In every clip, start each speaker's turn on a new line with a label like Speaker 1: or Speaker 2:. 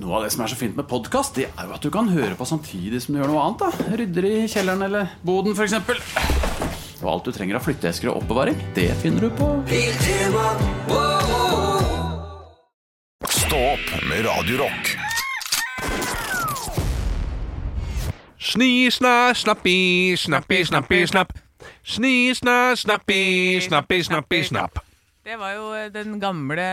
Speaker 1: Noe av det som er så fint med podkast, det er jo at du kan høre på samtidig som du gjør noe annet. da Rydder i kjelleren eller boden, f.eks. Og alt du trenger av flytteesker og oppbevaring, det finner du på
Speaker 2: Stå opp med Radio Rock.
Speaker 3: Sni, sna, snappi, snappi, snappi, snapp. Sni, sna, snappi, snappi, snappi, snapp.
Speaker 4: Det var jo eh, den gamle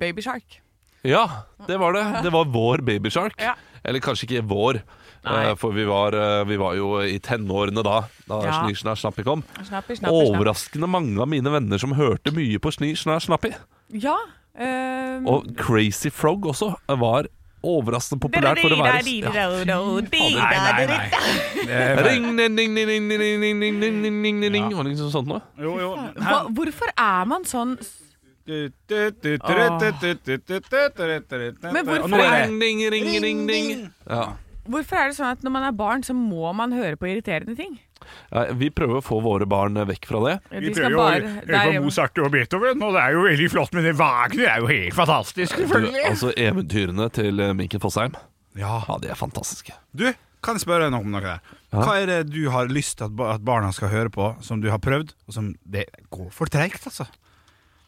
Speaker 4: Baby Shark.
Speaker 3: Ja, det var det. Det var vår babyshark.
Speaker 4: Ja.
Speaker 3: Eller kanskje ikke vår,
Speaker 4: Nei.
Speaker 3: eh, for vi var, eh, vi var jo i tenårene da. Da
Speaker 4: Ja.
Speaker 3: Sni, sna, snappi kom.
Speaker 4: Snappi, snappi, snapp.
Speaker 3: Overraskende mange av mine venner som hørte mye på Sni, sna, snappi.
Speaker 4: Ja. eh,
Speaker 3: Og Crazy Frog også var overraskende populært for å være ja.
Speaker 4: Nei, nei, nei.
Speaker 3: Ring, ding, ding, ding, ding, ding, ding, ding, ding, ding, ding, ding, ding. Var det ikke noe sånt nå?
Speaker 5: Jo, jo.
Speaker 4: Hva, hvorfor er man sånn Men
Speaker 5: Men
Speaker 4: hvorfor
Speaker 5: Nå er det
Speaker 3: Ring, ding, ring, ding, ding. Ja.
Speaker 4: Hvorfor er det sånn at når man er barn, så må man høre på irriterende ting?
Speaker 3: Nei, Vi prøver å få våre barn vekk fra det.
Speaker 4: Ja,
Speaker 5: Vi
Speaker 4: de skal
Speaker 5: prøver jo å
Speaker 4: bare- det
Speaker 5: høre
Speaker 4: er
Speaker 5: på
Speaker 4: jo-
Speaker 5: Mozart og Beethoven, og det er jo veldig flott, men det Wagner er jo helt fantastisk,
Speaker 3: Du,
Speaker 5: selvfølgelig.
Speaker 3: altså Eventyrene til eh, Minken Fossheim, ja. de er fantastiske.
Speaker 6: Du, kan jeg spørre deg om noe der? Hva er det du har lyst til at, ba- at barna skal høre på, som du har prøvd, og som Det går for treigt, altså.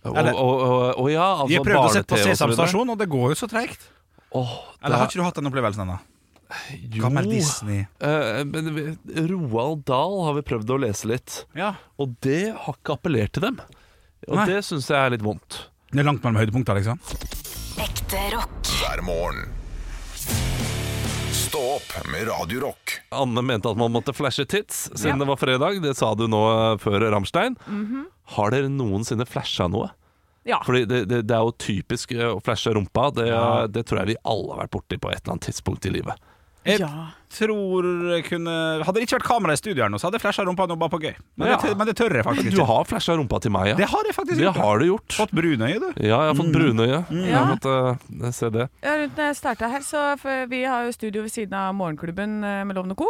Speaker 3: Og,
Speaker 6: Er
Speaker 3: og,
Speaker 6: det-
Speaker 3: og, og ja, altså
Speaker 6: Jeg prøvde å sette på
Speaker 3: barne-TV og så
Speaker 6: Sesam
Speaker 3: videre.
Speaker 6: stasjon, og det går jo så treigt.
Speaker 3: Åh, det
Speaker 6: Eller har
Speaker 3: er,
Speaker 6: ikke du hatt den opplevelsen ennå?
Speaker 3: jo,
Speaker 6: Gammel Disney.
Speaker 3: eh, men vi- Roald Dahl har vi prøvd å lese litt,
Speaker 6: Ja.
Speaker 3: og det har ikke appellert til dem. Og
Speaker 6: Nei.
Speaker 3: det syns jeg er litt vondt.
Speaker 6: Det er langt mellom høydepunkta, liksom.
Speaker 7: Ekte rock.
Speaker 2: hver morgen. Stå opp med Radio Rock.
Speaker 3: Anne mente at man måtte flashe tits siden det var fredag. Det sa du nå eh, før Ramstein. Har dere noensinne flasha noe?
Speaker 4: Ja.
Speaker 3: Fordi det, det, det er jo typisk eh, å flashe rumpa. Det, det tror jeg vi alle har vært borti på et eller annet tidspunkt i livet.
Speaker 6: Jeg
Speaker 4: Ja.
Speaker 6: tror jeg kunne Hadde det ikke vært kamera i studio her nå, så hadde jeg flasha rumpa nå bare på gøy. Men,
Speaker 3: Ja.
Speaker 6: det, men det tør jeg faktisk
Speaker 3: Du
Speaker 6: ikke.
Speaker 3: har flasha rumpa til meg, ja.
Speaker 6: Det har jeg faktisk
Speaker 3: Det
Speaker 6: ikke.
Speaker 3: har du gjort. Mm.
Speaker 6: Fått brunøye, du.
Speaker 3: Ja, jeg har fått brunøye. Jeg har
Speaker 4: Ja.
Speaker 3: måttet eh, se det.
Speaker 4: Ja, rundt når jeg starta her, så for vi har jo studio ved siden av morgenklubben eh, med Lovende Co.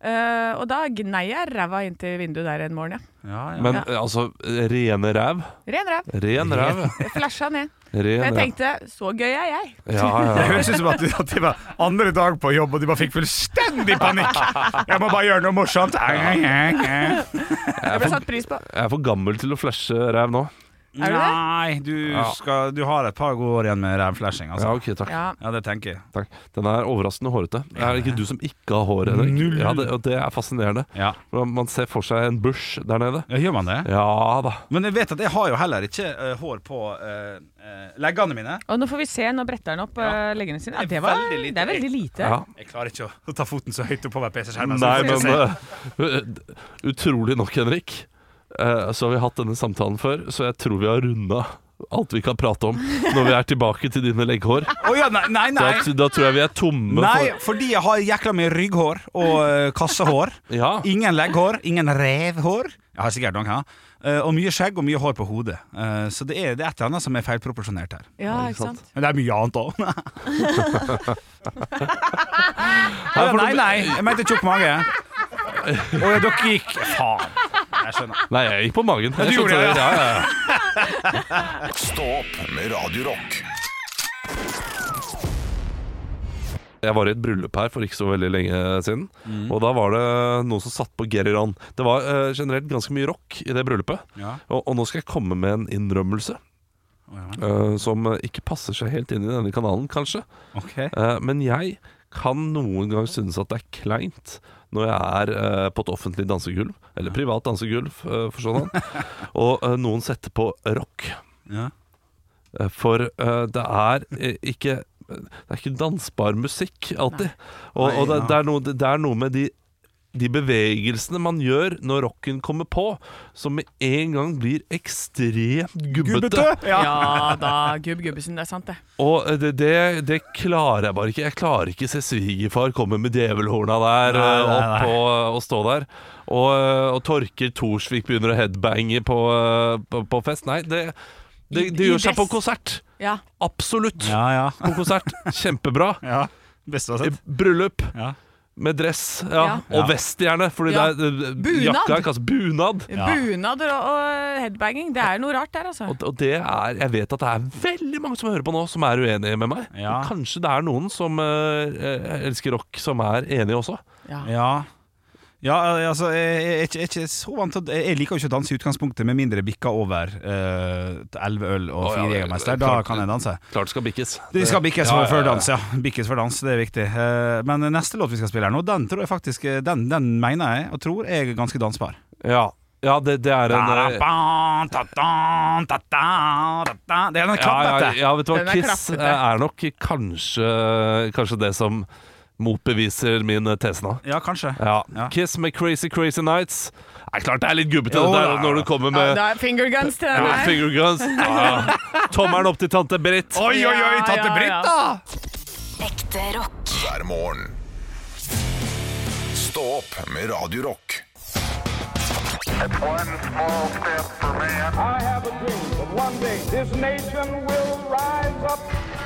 Speaker 4: Eh, og da gnei jeg ræva inntil vinduet der en morgen, ja.
Speaker 3: Men eh, altså, rene ræv.
Speaker 4: Ren ræv.
Speaker 3: Ren ræv.
Speaker 4: Jeg Flasha ned. For
Speaker 3: Ren
Speaker 4: jeg
Speaker 3: ræv.
Speaker 4: tenkte så gøy er jeg.
Speaker 3: Ja, ja,
Speaker 5: Det
Speaker 3: ja.
Speaker 5: høres ut som at de, at de var andre dag på jobb, og de bare fikk fullstendig panikk. Jeg må bare gjøre noe morsomt. Nei,
Speaker 4: Jeg ble satt pris på.
Speaker 3: Jeg er for gammel til å flashe ræv nå.
Speaker 4: Er du det?
Speaker 6: du, skal, du har et par gode år igjen med rævflashing,
Speaker 3: Ja,
Speaker 6: altså.
Speaker 3: ok, takk.
Speaker 4: Ja.
Speaker 6: Ja, det tenker jeg.
Speaker 3: takk. Den er overraskende hårete. Er det ikke du som ikke har hår, Henrik? Ja, det, og det er fascinerende.
Speaker 6: Ja.
Speaker 3: Man man ser for seg en bush der nede.
Speaker 6: Ja, Gjør man det?
Speaker 3: Ja da.
Speaker 6: Men jeg vet at jeg har jo heller ikke eh, hår på eh, eh, leggene mine.
Speaker 4: Og nå får vi se, nå bretter han opp eh, leggene sine. Ja,
Speaker 6: Det
Speaker 4: det,
Speaker 6: er
Speaker 4: var,
Speaker 6: veldig lite.
Speaker 4: det er veldig lite.
Speaker 3: Ja.
Speaker 6: Jeg klarer ikke å, å ta foten så høyt oppover PC-skjermen.
Speaker 3: Nei,
Speaker 6: så vi får
Speaker 3: men
Speaker 6: se.
Speaker 3: eh, utrolig nok, Henrik, eh, så har vi hatt denne samtalen før, så jeg tror vi har runda alt vi kan prate om når vi er tilbake til dine legghår.
Speaker 6: Å ja, nei, nei,
Speaker 3: Da,
Speaker 6: nei.
Speaker 3: da tror jeg vi er tomme
Speaker 6: nei!
Speaker 3: for
Speaker 6: Fordi jeg har jækla mye rygghår og eh, kassehår.
Speaker 3: Ja.
Speaker 6: Ingen legghår, ingen revhår. Jeg har sikkert noen, ja. Eh, og mye skjegg og mye hår på hodet. Eh, så det er, det er et eller annet som er feilproporsjonert her.
Speaker 4: Ja, ikke sant?
Speaker 6: Men det er mye annet òg.
Speaker 3: Her får du-
Speaker 6: nei, nei, jeg mente tjukk mage. Å ja, dere gikk Faen. Jeg skjønner.
Speaker 3: Nei, jeg gikk på magen. Jeg
Speaker 6: du gjorde
Speaker 3: skjønte
Speaker 6: det,
Speaker 3: Ja, ja, ja.
Speaker 2: Stå opp med Radio Rock.
Speaker 3: Jeg var i et bryllup her for ikke så veldig lenge siden.
Speaker 6: Mm.
Speaker 3: Og da var det noen som satt på Geriron. Det var eh, generelt ganske mye rock i det bryllupet.
Speaker 6: Ja.
Speaker 3: Og, og nå skal jeg komme med en innrømmelse. eh, som eh, ikke passer seg helt inn i denne kanalen, kanskje.
Speaker 6: Ok.
Speaker 3: Eh, men jeg kan noen gang synes at det er kleint når jeg er eh, på et offentlig dansegulv, eller privat dansegulv, eh, for sånn, og eh, noen setter på rock.
Speaker 6: Ja.
Speaker 3: Eh, For eh, det er eh, ikke Det er ikke dansbar musikk alltid. Og, og det, det, er noe, det er noe med de, de bevegelsene man gjør når rocken kommer på, som med en gang blir ekstremt gubbete.
Speaker 6: Gubbete! Ja.
Speaker 4: Ja da, Gubb Gubbesen, det er sant det.
Speaker 3: Og eh, det, det, det klarer jeg bare ikke. Jeg klarer ikke se svigerfar komme med djevelhorna der eh, opp og, og stå der. Og, eh, og Torker Thorsvik begynner å headbange på, eh, på, på fest. Nei, det, det,
Speaker 4: I-
Speaker 3: det
Speaker 4: i
Speaker 3: gjør seg på
Speaker 4: dress.
Speaker 3: konsert.
Speaker 4: Ja.
Speaker 3: Absolutt
Speaker 6: Ja, ja.
Speaker 3: på konsert. Kjempebra.
Speaker 6: ja. Beste jeg har
Speaker 3: I
Speaker 6: sett.
Speaker 3: bryllup.
Speaker 6: Ja.
Speaker 3: Med dress, ja.
Speaker 4: Ja.
Speaker 3: Og vest gjerne, fordi
Speaker 4: Ja.
Speaker 3: det er
Speaker 4: Bunad.
Speaker 3: bunad. jakka er kanskje bunad.
Speaker 4: Bunader og, og headbanging, det er noe rart der, altså.
Speaker 3: Og, og det er, jeg vet at det er veldig mange som hører på nå, som er uenige med meg.
Speaker 6: Ja.
Speaker 3: Og kanskje det er noen som eh, elsker rock, som er enige også.
Speaker 4: Ja.
Speaker 6: Ja ja, altså, jeg, jeg, er ikke- jeg, er ikke så vant til å- Jeg liker jo ikke å danse i utgangspunktet, med mindre jeg bikker over eh, elleve øl og
Speaker 3: Å, ja,
Speaker 6: fire
Speaker 3: det-
Speaker 6: Jegermeister.
Speaker 3: det-
Speaker 6: Da
Speaker 3: klart.
Speaker 6: kan jeg danse.
Speaker 3: Klart det skal bikkes.
Speaker 6: Det skal bikkes
Speaker 3: Ja, ja,
Speaker 6: før
Speaker 3: ja, ja.
Speaker 6: dans, ja. Bikkes for dans, det er viktig. Eh, Men neste låt vi skal spille her nå, den tror jeg faktisk eh, Den, den mener jeg og tror er ganske dansbar.
Speaker 3: Ja, ja det, det er en eh,
Speaker 6: Det er den
Speaker 3: ja, ja,
Speaker 6: klappete.
Speaker 3: ja, vet du hva,
Speaker 4: Den er
Speaker 3: Kiss
Speaker 4: klappete.
Speaker 3: eh, er nok kanskje, kanskje det som motbeviser min eh, tese nå.
Speaker 6: Ja, kanskje.
Speaker 3: Ja.
Speaker 6: Ja.
Speaker 3: Kiss med Crazy Crazy Nights. Det er klart det er litt gubbete
Speaker 6: Jo,
Speaker 3: det der,
Speaker 6: da.
Speaker 3: når du kommer
Speaker 4: Ja,
Speaker 3: med
Speaker 4: da er fingerguns til den
Speaker 3: med
Speaker 4: her.
Speaker 3: finger guns. Ja. Tommelen opp til tante Britt.
Speaker 6: Oi, oi, oi,
Speaker 4: Ja,
Speaker 6: tante
Speaker 4: ja,
Speaker 6: Britt,
Speaker 4: ja.
Speaker 6: da!
Speaker 7: Ekte rock.
Speaker 2: hver morgen. Stå opp med Radio Rock.
Speaker 8: One small step for man. I have a dream that one day this nation will rise up.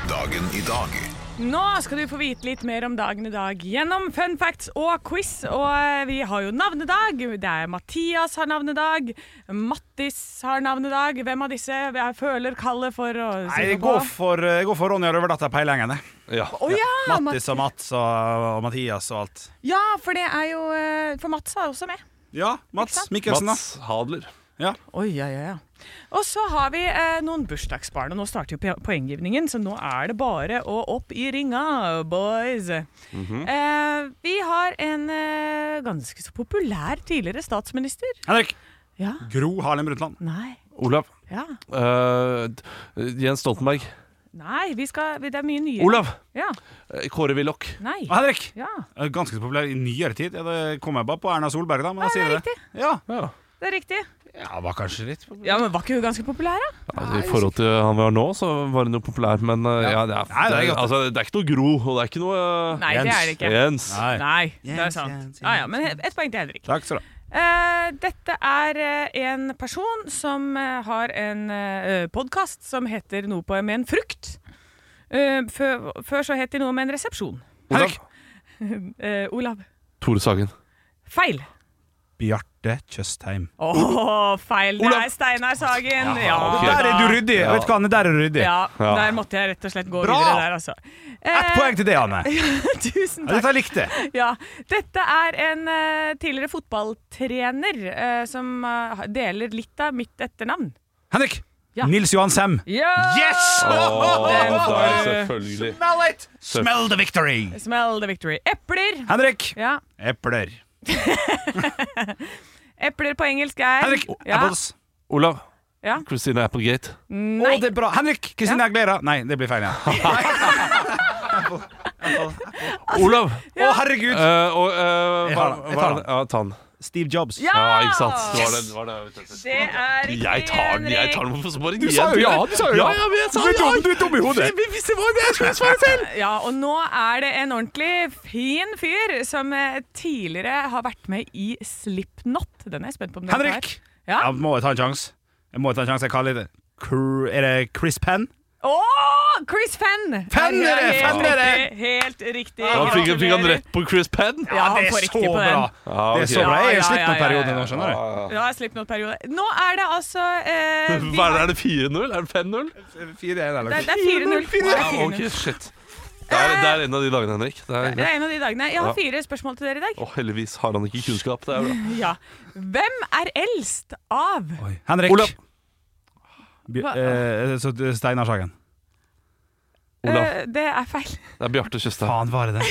Speaker 2: Dagen i dag.
Speaker 4: Nå skal du få vite litt mer om dagen i dag gjennom fun facts og quiz. Og eh, vi har jo navnedag. Det er Mathias har navnedag. Mattis har navnedag. Hvem av disse jeg føler kallet for å
Speaker 6: Nei,
Speaker 4: si
Speaker 6: jeg
Speaker 4: noe på?
Speaker 6: går for, eh, jeg går for Ronja Røverdatter Peilengen. jeg.
Speaker 3: Ja.
Speaker 4: Å ja! Mattis.
Speaker 6: Mattis og Mats og, og Mathias og alt.
Speaker 4: Ja, for det er jo eh, For Mats er også med.
Speaker 6: Ja, Mats
Speaker 4: sant?
Speaker 6: Mikkelsen, sånn, da.
Speaker 3: Mats Hadler.
Speaker 4: Oi, ja, ja, ja. Og så har vi eh, noen bursdagsbarn, og nå starter jo po- poenggivningen, så nå er det bare å opp i ringa, boys. eh, vi har en eh, ganske så populær tidligere statsminister.
Speaker 6: Henrik.
Speaker 4: Ja.
Speaker 6: Gro Harlem Brundtland.
Speaker 4: Nei.
Speaker 3: Olav.
Speaker 4: Ja.
Speaker 3: Eh, Jens Stoltenberg.
Speaker 4: Nei, vi skal Det er mye nye.
Speaker 3: Olav!
Speaker 4: Ja.
Speaker 3: Eh, Kåre Willoch.
Speaker 4: Nei.
Speaker 6: Og Henrik.
Speaker 4: Ja,
Speaker 6: Eh, Ganske så populær i nyere tid. Ja, det kom jeg bare på Erna Solberg, da. Men da
Speaker 4: det
Speaker 6: sier
Speaker 4: er
Speaker 6: jeg det.
Speaker 4: riktig.
Speaker 6: Ja.
Speaker 3: Ja.
Speaker 4: Det er riktig.
Speaker 6: ja, var kanskje litt populær.
Speaker 4: Ja, men Var ikke hun ganske populær, da?
Speaker 3: Altså, I forhold til han vi har nå, så var han jo populær, men eh, ja, det, er,
Speaker 6: Nei, det er godt.
Speaker 3: altså, det er ikke noe Gro, og det er ikke noe eh,
Speaker 4: Nei, det er det ikke.
Speaker 3: Jens.
Speaker 6: Nei.
Speaker 4: Nei, det er sant. Ja, ja, men he- ett poeng til Henrik.
Speaker 6: Takk skal du ha.
Speaker 4: Eh, dette er eh, en person som eh, har en uh, podkast som heter noe på med en frukt. Eh, før, før så het de noe med en resepsjon.
Speaker 3: Olav.
Speaker 4: Eh, Olav.
Speaker 3: Tore Sagen.
Speaker 4: Feil.
Speaker 6: Bjarte Tjøstheim.
Speaker 4: Å, feil. Det er Steinar Sagen. Ja,
Speaker 3: ok.
Speaker 6: Der er du
Speaker 4: da.
Speaker 6: ryddig!
Speaker 3: Ja.
Speaker 6: Vet du hva, Anne, der er du ryddig.
Speaker 4: Ja,
Speaker 3: Ja.
Speaker 4: der måtte jeg rett og slett gå
Speaker 6: Bra!
Speaker 4: videre der, altså.
Speaker 6: Ett
Speaker 4: Eh,
Speaker 6: poeng til det, Anne.
Speaker 4: Tusen
Speaker 6: Ja,
Speaker 4: takk.
Speaker 6: Dette likte jeg.
Speaker 4: Ja, dette er en eh, tidligere fotballtrener eh, som eh, deler litt av mitt etternavn.
Speaker 6: Henrik.
Speaker 4: Ja.
Speaker 6: Nils Johan Sem. Yes!
Speaker 3: Oh,
Speaker 4: der,
Speaker 3: selvfølgelig.
Speaker 6: Smell it! Smell the victory!
Speaker 4: Smell the victory. Epler.
Speaker 6: Henrik.
Speaker 4: Ja,
Speaker 6: Epler.
Speaker 4: epler på engelsk er
Speaker 6: Henrik.
Speaker 4: Ja.
Speaker 6: Apples.
Speaker 3: Olav.
Speaker 4: Ja.
Speaker 3: Christine Applegate.
Speaker 6: Å, det er bra. Henrik. Kristine Aguilera. Nei, det blir feil igjen.
Speaker 4: Altså,
Speaker 3: Olav!
Speaker 6: Å, herregud.
Speaker 3: Eh, og, eh,
Speaker 6: Jeg
Speaker 3: hva,
Speaker 6: har den. Jeg
Speaker 3: hva,
Speaker 6: tar den.
Speaker 3: ja, ta den.
Speaker 6: Steve Jobs.
Speaker 4: Ja!
Speaker 3: Ja, ikke sant. Det var det, det var det. jeg vet
Speaker 4: Det er
Speaker 3: ikke.
Speaker 4: riktig,
Speaker 3: Jeg tar den, jeg
Speaker 4: Henrik.
Speaker 3: tar den. Hvorfor så bare
Speaker 6: Du sa jo ja, du sa jo ja.
Speaker 3: ja, ja men jeg sa
Speaker 6: Du er
Speaker 3: ja.
Speaker 6: dum, du er dum i hodet.
Speaker 3: Vi visste hva jeg skulle svare selv.
Speaker 4: Ja, og nå er det en ordentlig fin fyr som eh, tidligere har vært med i Slipknot. Den er jeg spent på om dere
Speaker 6: Henrik.
Speaker 4: tar. Ja.
Speaker 6: Ja, må jeg ta en sjanse? Jeg må ta en sjanse. Jeg kaller det Cr- Er det Chris Penn?
Speaker 4: Å, Chris Fenn!
Speaker 6: Fenn er det,
Speaker 4: Helt
Speaker 6: Fenn er det.
Speaker 4: riktig, Helt riktig.
Speaker 3: Da fikk, fikk han rett på Chris Penn.
Speaker 4: Ja, han
Speaker 6: det
Speaker 4: får
Speaker 6: er
Speaker 4: riktig
Speaker 6: så
Speaker 4: på den.
Speaker 6: bra. Det er så bra. Jeg
Speaker 4: Ja,
Speaker 6: er i
Speaker 4: ja,
Speaker 6: slutten av
Speaker 4: ja, ja,
Speaker 6: perioden
Speaker 4: ja.
Speaker 6: nå, skjønner du.
Speaker 4: Ja, Slipknot-periode. Nå er det altså eh, vi
Speaker 3: Hva er det,
Speaker 4: har-
Speaker 3: er det 4-0? Er det 5-0?
Speaker 6: Fire er det,
Speaker 4: Det
Speaker 6: eller?
Speaker 4: er- det er 4-0. Det
Speaker 3: Ja,
Speaker 4: er 4-0.
Speaker 3: ok, shit. Det er, det er en av de dagene, Henrik. Det er
Speaker 4: Det
Speaker 3: greit.
Speaker 4: er en av de dagene. Jeg har
Speaker 3: Ja.
Speaker 4: fire spørsmål til dere i dag.
Speaker 3: Å, heldigvis har han ikke kunnskap. Det er bra.
Speaker 4: Ja. Hvem er eldst av
Speaker 6: Oi. Henrik.
Speaker 3: Olav.
Speaker 6: Bj- eh, så det er Steinar Sagen.
Speaker 3: Olav.
Speaker 4: Eh, Det er feil.
Speaker 3: Det er Bjarte Tjøstheim.
Speaker 6: Faen, var det det?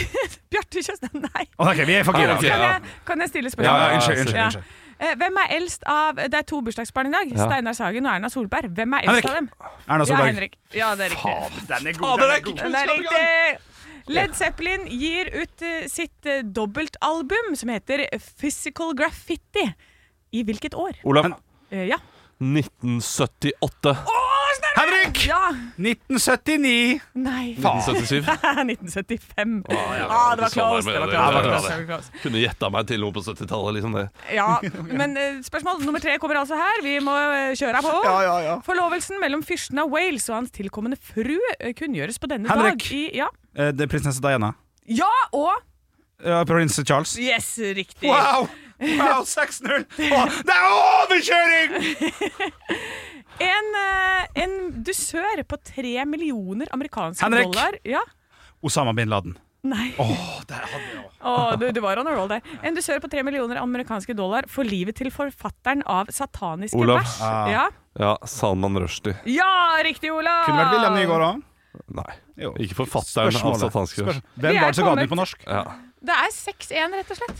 Speaker 4: Bjarte Tjøstheim, nei.
Speaker 6: Ok, vi er
Speaker 3: Ja,
Speaker 6: fakira.
Speaker 3: ok,
Speaker 6: Okay.
Speaker 4: Kan
Speaker 3: ja.
Speaker 4: jeg, kan jeg stille
Speaker 6: Ja,
Speaker 4: spørsmål?
Speaker 6: ja, unnskyld,
Speaker 4: Ja.
Speaker 6: unnskyld. unnskyld.
Speaker 4: Eh, Hvem er eldst av Det er to bursdagsbarn i dag.
Speaker 3: Ja.
Speaker 4: Steinar Sagen og Erna Solberg. Hvem er eldst
Speaker 6: Henrik.
Speaker 4: av dem?
Speaker 6: Erna
Speaker 4: Ja,
Speaker 6: Solberg.
Speaker 4: Henrik. Ja, det er riktig.
Speaker 6: Den er
Speaker 3: Fader, det er ikke
Speaker 4: Den er riktig. Led Zeppelin gir ut eh, sitt eh, dobbeltalbum som heter Physical Graffiti. I hvilket år?
Speaker 3: Olav.
Speaker 4: Eh, ja.
Speaker 3: 1978.
Speaker 6: Henrik!
Speaker 4: ja.
Speaker 6: 1979.
Speaker 4: Nei.
Speaker 3: 1977.
Speaker 4: 1975.
Speaker 3: ja,
Speaker 4: ah,
Speaker 3: det
Speaker 4: det var
Speaker 3: var
Speaker 4: close.
Speaker 3: med
Speaker 4: Det var
Speaker 3: det, det
Speaker 4: close,
Speaker 3: var
Speaker 4: det var
Speaker 3: det.
Speaker 4: close, det var close.
Speaker 3: Kunne gjetta meg til noe på 70-tallet. Liksom det.
Speaker 4: Ja, men eh, spørsmål nummer tre kommer altså her. Vi må eh, kjøre på. Forlovelsen mellom fyrsten av Wales og hans tilkommende fru eh, kunngjøres på denne
Speaker 6: Henrik.
Speaker 4: dag. I, ja.
Speaker 6: Eh, Det er prinsesse Diana.
Speaker 4: ja, og
Speaker 6: Eh, Ja, Prins Charles.
Speaker 4: Yes, riktig.
Speaker 6: Wow! Wow, 6-0! Å, Det er overkjøring!
Speaker 4: En, eh, en dusør på tre millioner amerikanske
Speaker 6: Henrik!
Speaker 4: dollar. Ja.
Speaker 6: Osama bin Laden.
Speaker 4: Nei. Å, du, du var on a roll der. En dusør på tre millioner amerikanske dollar for livet til forfatteren av sataniske
Speaker 3: Olav.
Speaker 4: vers.
Speaker 6: Ah.
Speaker 4: Ja.
Speaker 3: Ja, Salman Rushdie.
Speaker 4: ja, riktig, Olav!
Speaker 6: Kunne vært William Nygaard òg.
Speaker 3: Nei.
Speaker 6: Jo.
Speaker 3: Ikke forfatteren
Speaker 6: Spørsmålet.
Speaker 3: av satanske vers.
Speaker 6: Hvem
Speaker 4: Vi er
Speaker 6: var det som ga den
Speaker 4: kommet-
Speaker 6: ut på norsk?
Speaker 3: Ja.
Speaker 4: Det er 6-1, rett og slett.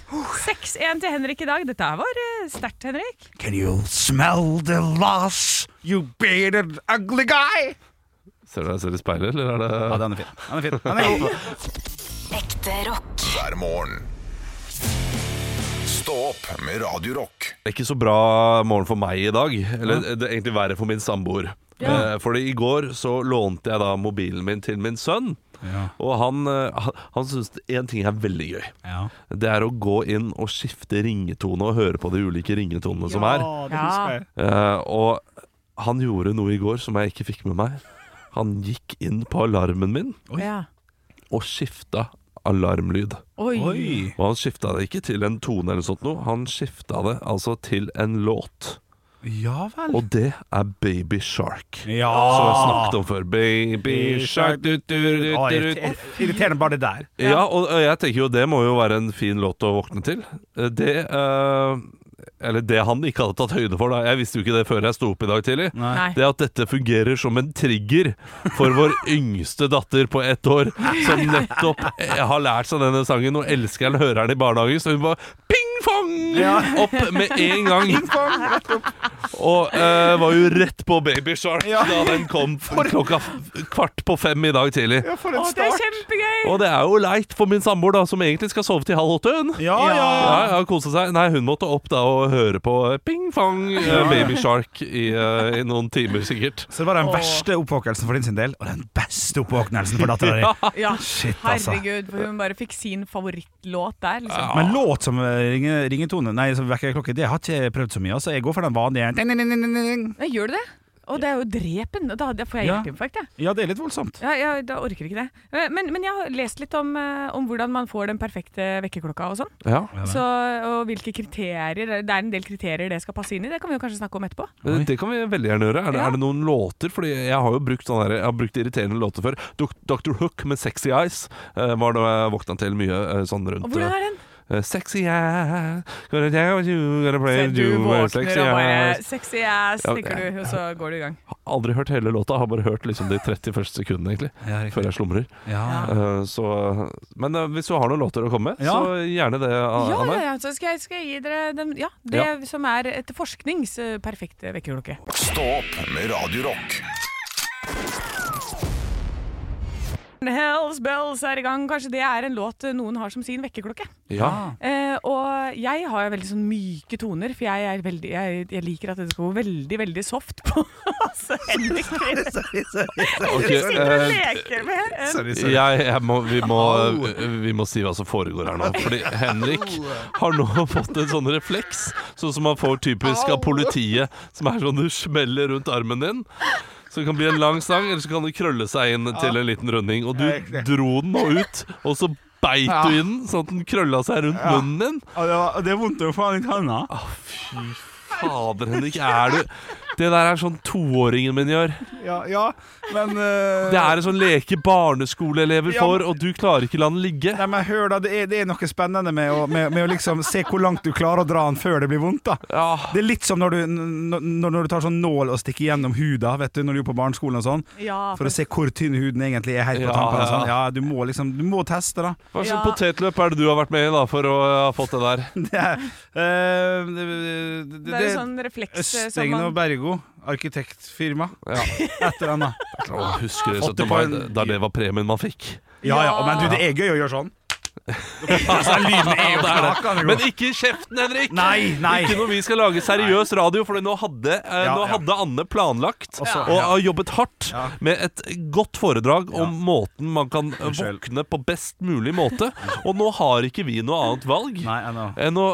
Speaker 4: 6-1 til Henrik i dag. Dette her var eh, sterkt, Henrik.
Speaker 6: Can you smell the loss, you bearded ugly guy?
Speaker 3: Ser du deg selv i speilet, eller er
Speaker 6: Ja,
Speaker 3: det
Speaker 6: den er fin. Den er fin. Den er god.
Speaker 7: Ekte rock.
Speaker 2: hver morgen. Stå opp med Radio Rock.
Speaker 3: Det er ikke så bra morgen for meg i dag. Eller det er egentlig verre for min samboer. Eh, Fordi i går så lånte jeg da mobilen min til min sønn. Og han, eh, han, han syns én ting er veldig gøy.
Speaker 6: Ja.
Speaker 3: Det er å gå inn og skifte ringetone og høre på de ulike ringetonene som er.
Speaker 4: Ja.
Speaker 3: Eh, og han gjorde noe i går som jeg ikke fikk med meg. Han gikk inn på alarmen min
Speaker 4: Ja.
Speaker 3: og skifta alarmlyd.
Speaker 4: Oi.
Speaker 6: Oi.
Speaker 3: Og han skifta det ikke til en tone eller sånt noe, han skifta det altså til en låt.
Speaker 6: Ja vel.
Speaker 3: Og det er Baby Shark.
Speaker 6: Ja.
Speaker 3: Som jeg snakket om før. Baby Shark du, du, du,
Speaker 6: Å,
Speaker 3: du, du.
Speaker 6: irriter- Irriterende bare det der.
Speaker 3: Ja, og og jeg tenker jo det må jo være en fin låt å våkne til. Eh, Det eh, Eller det han ikke hadde tatt høyde for, da. Jeg visste jo ikke det før jeg sto opp i dag tidlig.
Speaker 4: Nei.
Speaker 3: Det at dette fungerer som en trigger for vår yngste datter på ett år, som nettopp eh, har lært seg denne sangen og elsker den, hører den i barnehagen, så hun bare ping-fong opp med en gang. Og eh, var jo rett på Baby Shark da den kom klokka f- kvart på fem i dag tidlig.
Speaker 6: For en
Speaker 4: Å, det er kjempegøy!
Speaker 3: Og det er jo leit for min samboer, da, som egentlig skal sove til halv åtte. Hun.
Speaker 6: Ja, ja.
Speaker 3: Ja, ja, kose seg. Nei, hun måtte opp da og høre på ping-fong Baby Shark i, eh, i noen timer, sikkert.
Speaker 6: Så det var den verste oppvåkelsen for din sin del, og den beste oppvåknelsen for dattera di.
Speaker 4: Ja,
Speaker 6: Shit, altså.
Speaker 4: herregud, for hun bare fikk sin favorittlåt der, liksom.
Speaker 6: Men låt som eh, ringe, ringetone, nei, som vekkerklokke, det har ikke jeg prøvd så mye. Altså, jeg går for den vanlige ding, ding, ding, ding, ding.
Speaker 4: Nei, gjør du det? Og det er jo drepen. og Da da får jeg
Speaker 6: Ja.
Speaker 4: hjerteinfarkt, jeg.
Speaker 6: Ja, det er litt voldsomt.
Speaker 4: Ja, ja, da orker jeg ikke det. Eh, Men, men jeg har lest litt om, eh, om hvordan man får den perfekte vekkerklokka og sånn.
Speaker 3: Ja.
Speaker 4: Så, og hvilke kriterier Det er en del kriterier det skal passe inn i. Det kan vi jo kanskje snakke om etterpå.
Speaker 3: Eh, Det kan vi veldig gjerne gjøre. Er det,
Speaker 4: Ja.
Speaker 3: er det noen låter? Fordi jeg har jo brukt, sånne der, jeg har brukt irriterende låter før. Dok- Dr. Hook med 'Sexy Eyes' eh, var det jeg våkna til mye eh, sånn rundt
Speaker 4: Og hvordan
Speaker 3: eh,
Speaker 4: er den?
Speaker 3: eh, 'Sexy Eyes', gonna tell you, gonna play
Speaker 4: du
Speaker 3: you, eh,
Speaker 4: våkner
Speaker 3: sexy
Speaker 4: og bare
Speaker 3: eyes.
Speaker 4: 'sexy ass',
Speaker 3: Ja,
Speaker 4: tenker du, og så går du i gang.
Speaker 3: Aldri hørt hele låta, har bare hørt liksom de 31 sekundene, egentlig.
Speaker 6: Ja, riktig.
Speaker 3: før jeg slumrer.
Speaker 6: Ja.
Speaker 3: Eh, Så, men eh, hvis du har noen låter å komme med,
Speaker 6: Ja.
Speaker 3: så gjerne det, A-
Speaker 4: Ja,
Speaker 3: Anne.
Speaker 4: ja, ja, så skal jeg, skal jeg gi dere den, ja, det som er etter forsknings eh, perfekte vekkerklokke.
Speaker 2: Stå opp med Radio Rock.
Speaker 4: Hells Bells er i gang. Kanskje det er en låt eh, noen har som sin vekkerklokke.
Speaker 3: Ja.
Speaker 4: Eh, og jeg har jo veldig sånn myke toner, for jeg, er veldig, jeg, jeg liker at det skal gå veldig, veldig soft på altså, Henrik.
Speaker 3: Ok,
Speaker 4: Vi sitter og
Speaker 3: eh,
Speaker 4: leker med en
Speaker 3: Jeg, jeg må, vi, må, eh, vi må si hva som foregår her nå. Fordi Henrik har nå fått en sånn refleks, sånn som man får typisk av politiet, som er sånn du smeller rundt armen din. Så det kan bli en lang sang, eller så kan det krølle seg inn til en liten runding. Og du dro den nå ut, og så beit du i den, sånn at den krølla seg rundt munnen din.
Speaker 6: Og det, var, det er vondt å få den i tanna.
Speaker 3: Ah. Fader, Henrik, er du Det der er sånn toåringen min gjør.
Speaker 6: Ja, ja, men eh,
Speaker 3: Det er en sånn leke barneskoleelever
Speaker 6: Ja, men-
Speaker 3: får, og du klarer ikke la den ligge.
Speaker 6: Nei, men hør da, det er, det er noe spennende med å, med, med å liksom se hvor langt du klarer å dra den før det blir vondt. da
Speaker 3: Ja.
Speaker 6: Det er litt som når du, n- n- når du tar sånn nål og stikker gjennom huda Vet du, når du er på barneskolen og sånn
Speaker 4: Ja,
Speaker 6: For å se hvor tynn huden egentlig er helt på
Speaker 3: Ja,
Speaker 6: tampen og
Speaker 3: ja.
Speaker 6: sånn. Ja, du må liksom, du må teste da
Speaker 3: Hva slags
Speaker 4: Ja.
Speaker 3: potetløp er det du har vært med i da for å eh, ha fått det der?
Speaker 6: Det er, eh, det, det,
Speaker 4: det er jo sånn refleks eh, som
Speaker 6: Østengen og
Speaker 4: man
Speaker 6: Bergo Arkitektfirma
Speaker 3: Ja.
Speaker 6: Et eller annet
Speaker 3: Å, husker dere 17.
Speaker 6: Fått det på
Speaker 3: mai,
Speaker 6: en-
Speaker 3: da det var premien man fikk?
Speaker 6: Ja, ja, men du, det er gøy å gjøre sånn Altså, lyden er jo knakende
Speaker 3: Men
Speaker 6: god
Speaker 3: ikke i kjeften, Henrik!
Speaker 6: Nei, nei
Speaker 3: Ikke når vi skal lage seriøs radio, for nå hadde, eh,
Speaker 6: Ja,
Speaker 3: nå
Speaker 6: ja.
Speaker 3: hadde Anne planlagt
Speaker 6: Og så-
Speaker 3: og
Speaker 6: ja.
Speaker 3: har jobbet hardt
Speaker 6: Ja.
Speaker 3: med et godt foredrag om måten man kan eh,
Speaker 6: Unnskyld.
Speaker 3: våkne på best mulig måte. Og nå har ikke vi noe annet valg
Speaker 6: Nei, jeg nå
Speaker 3: enn å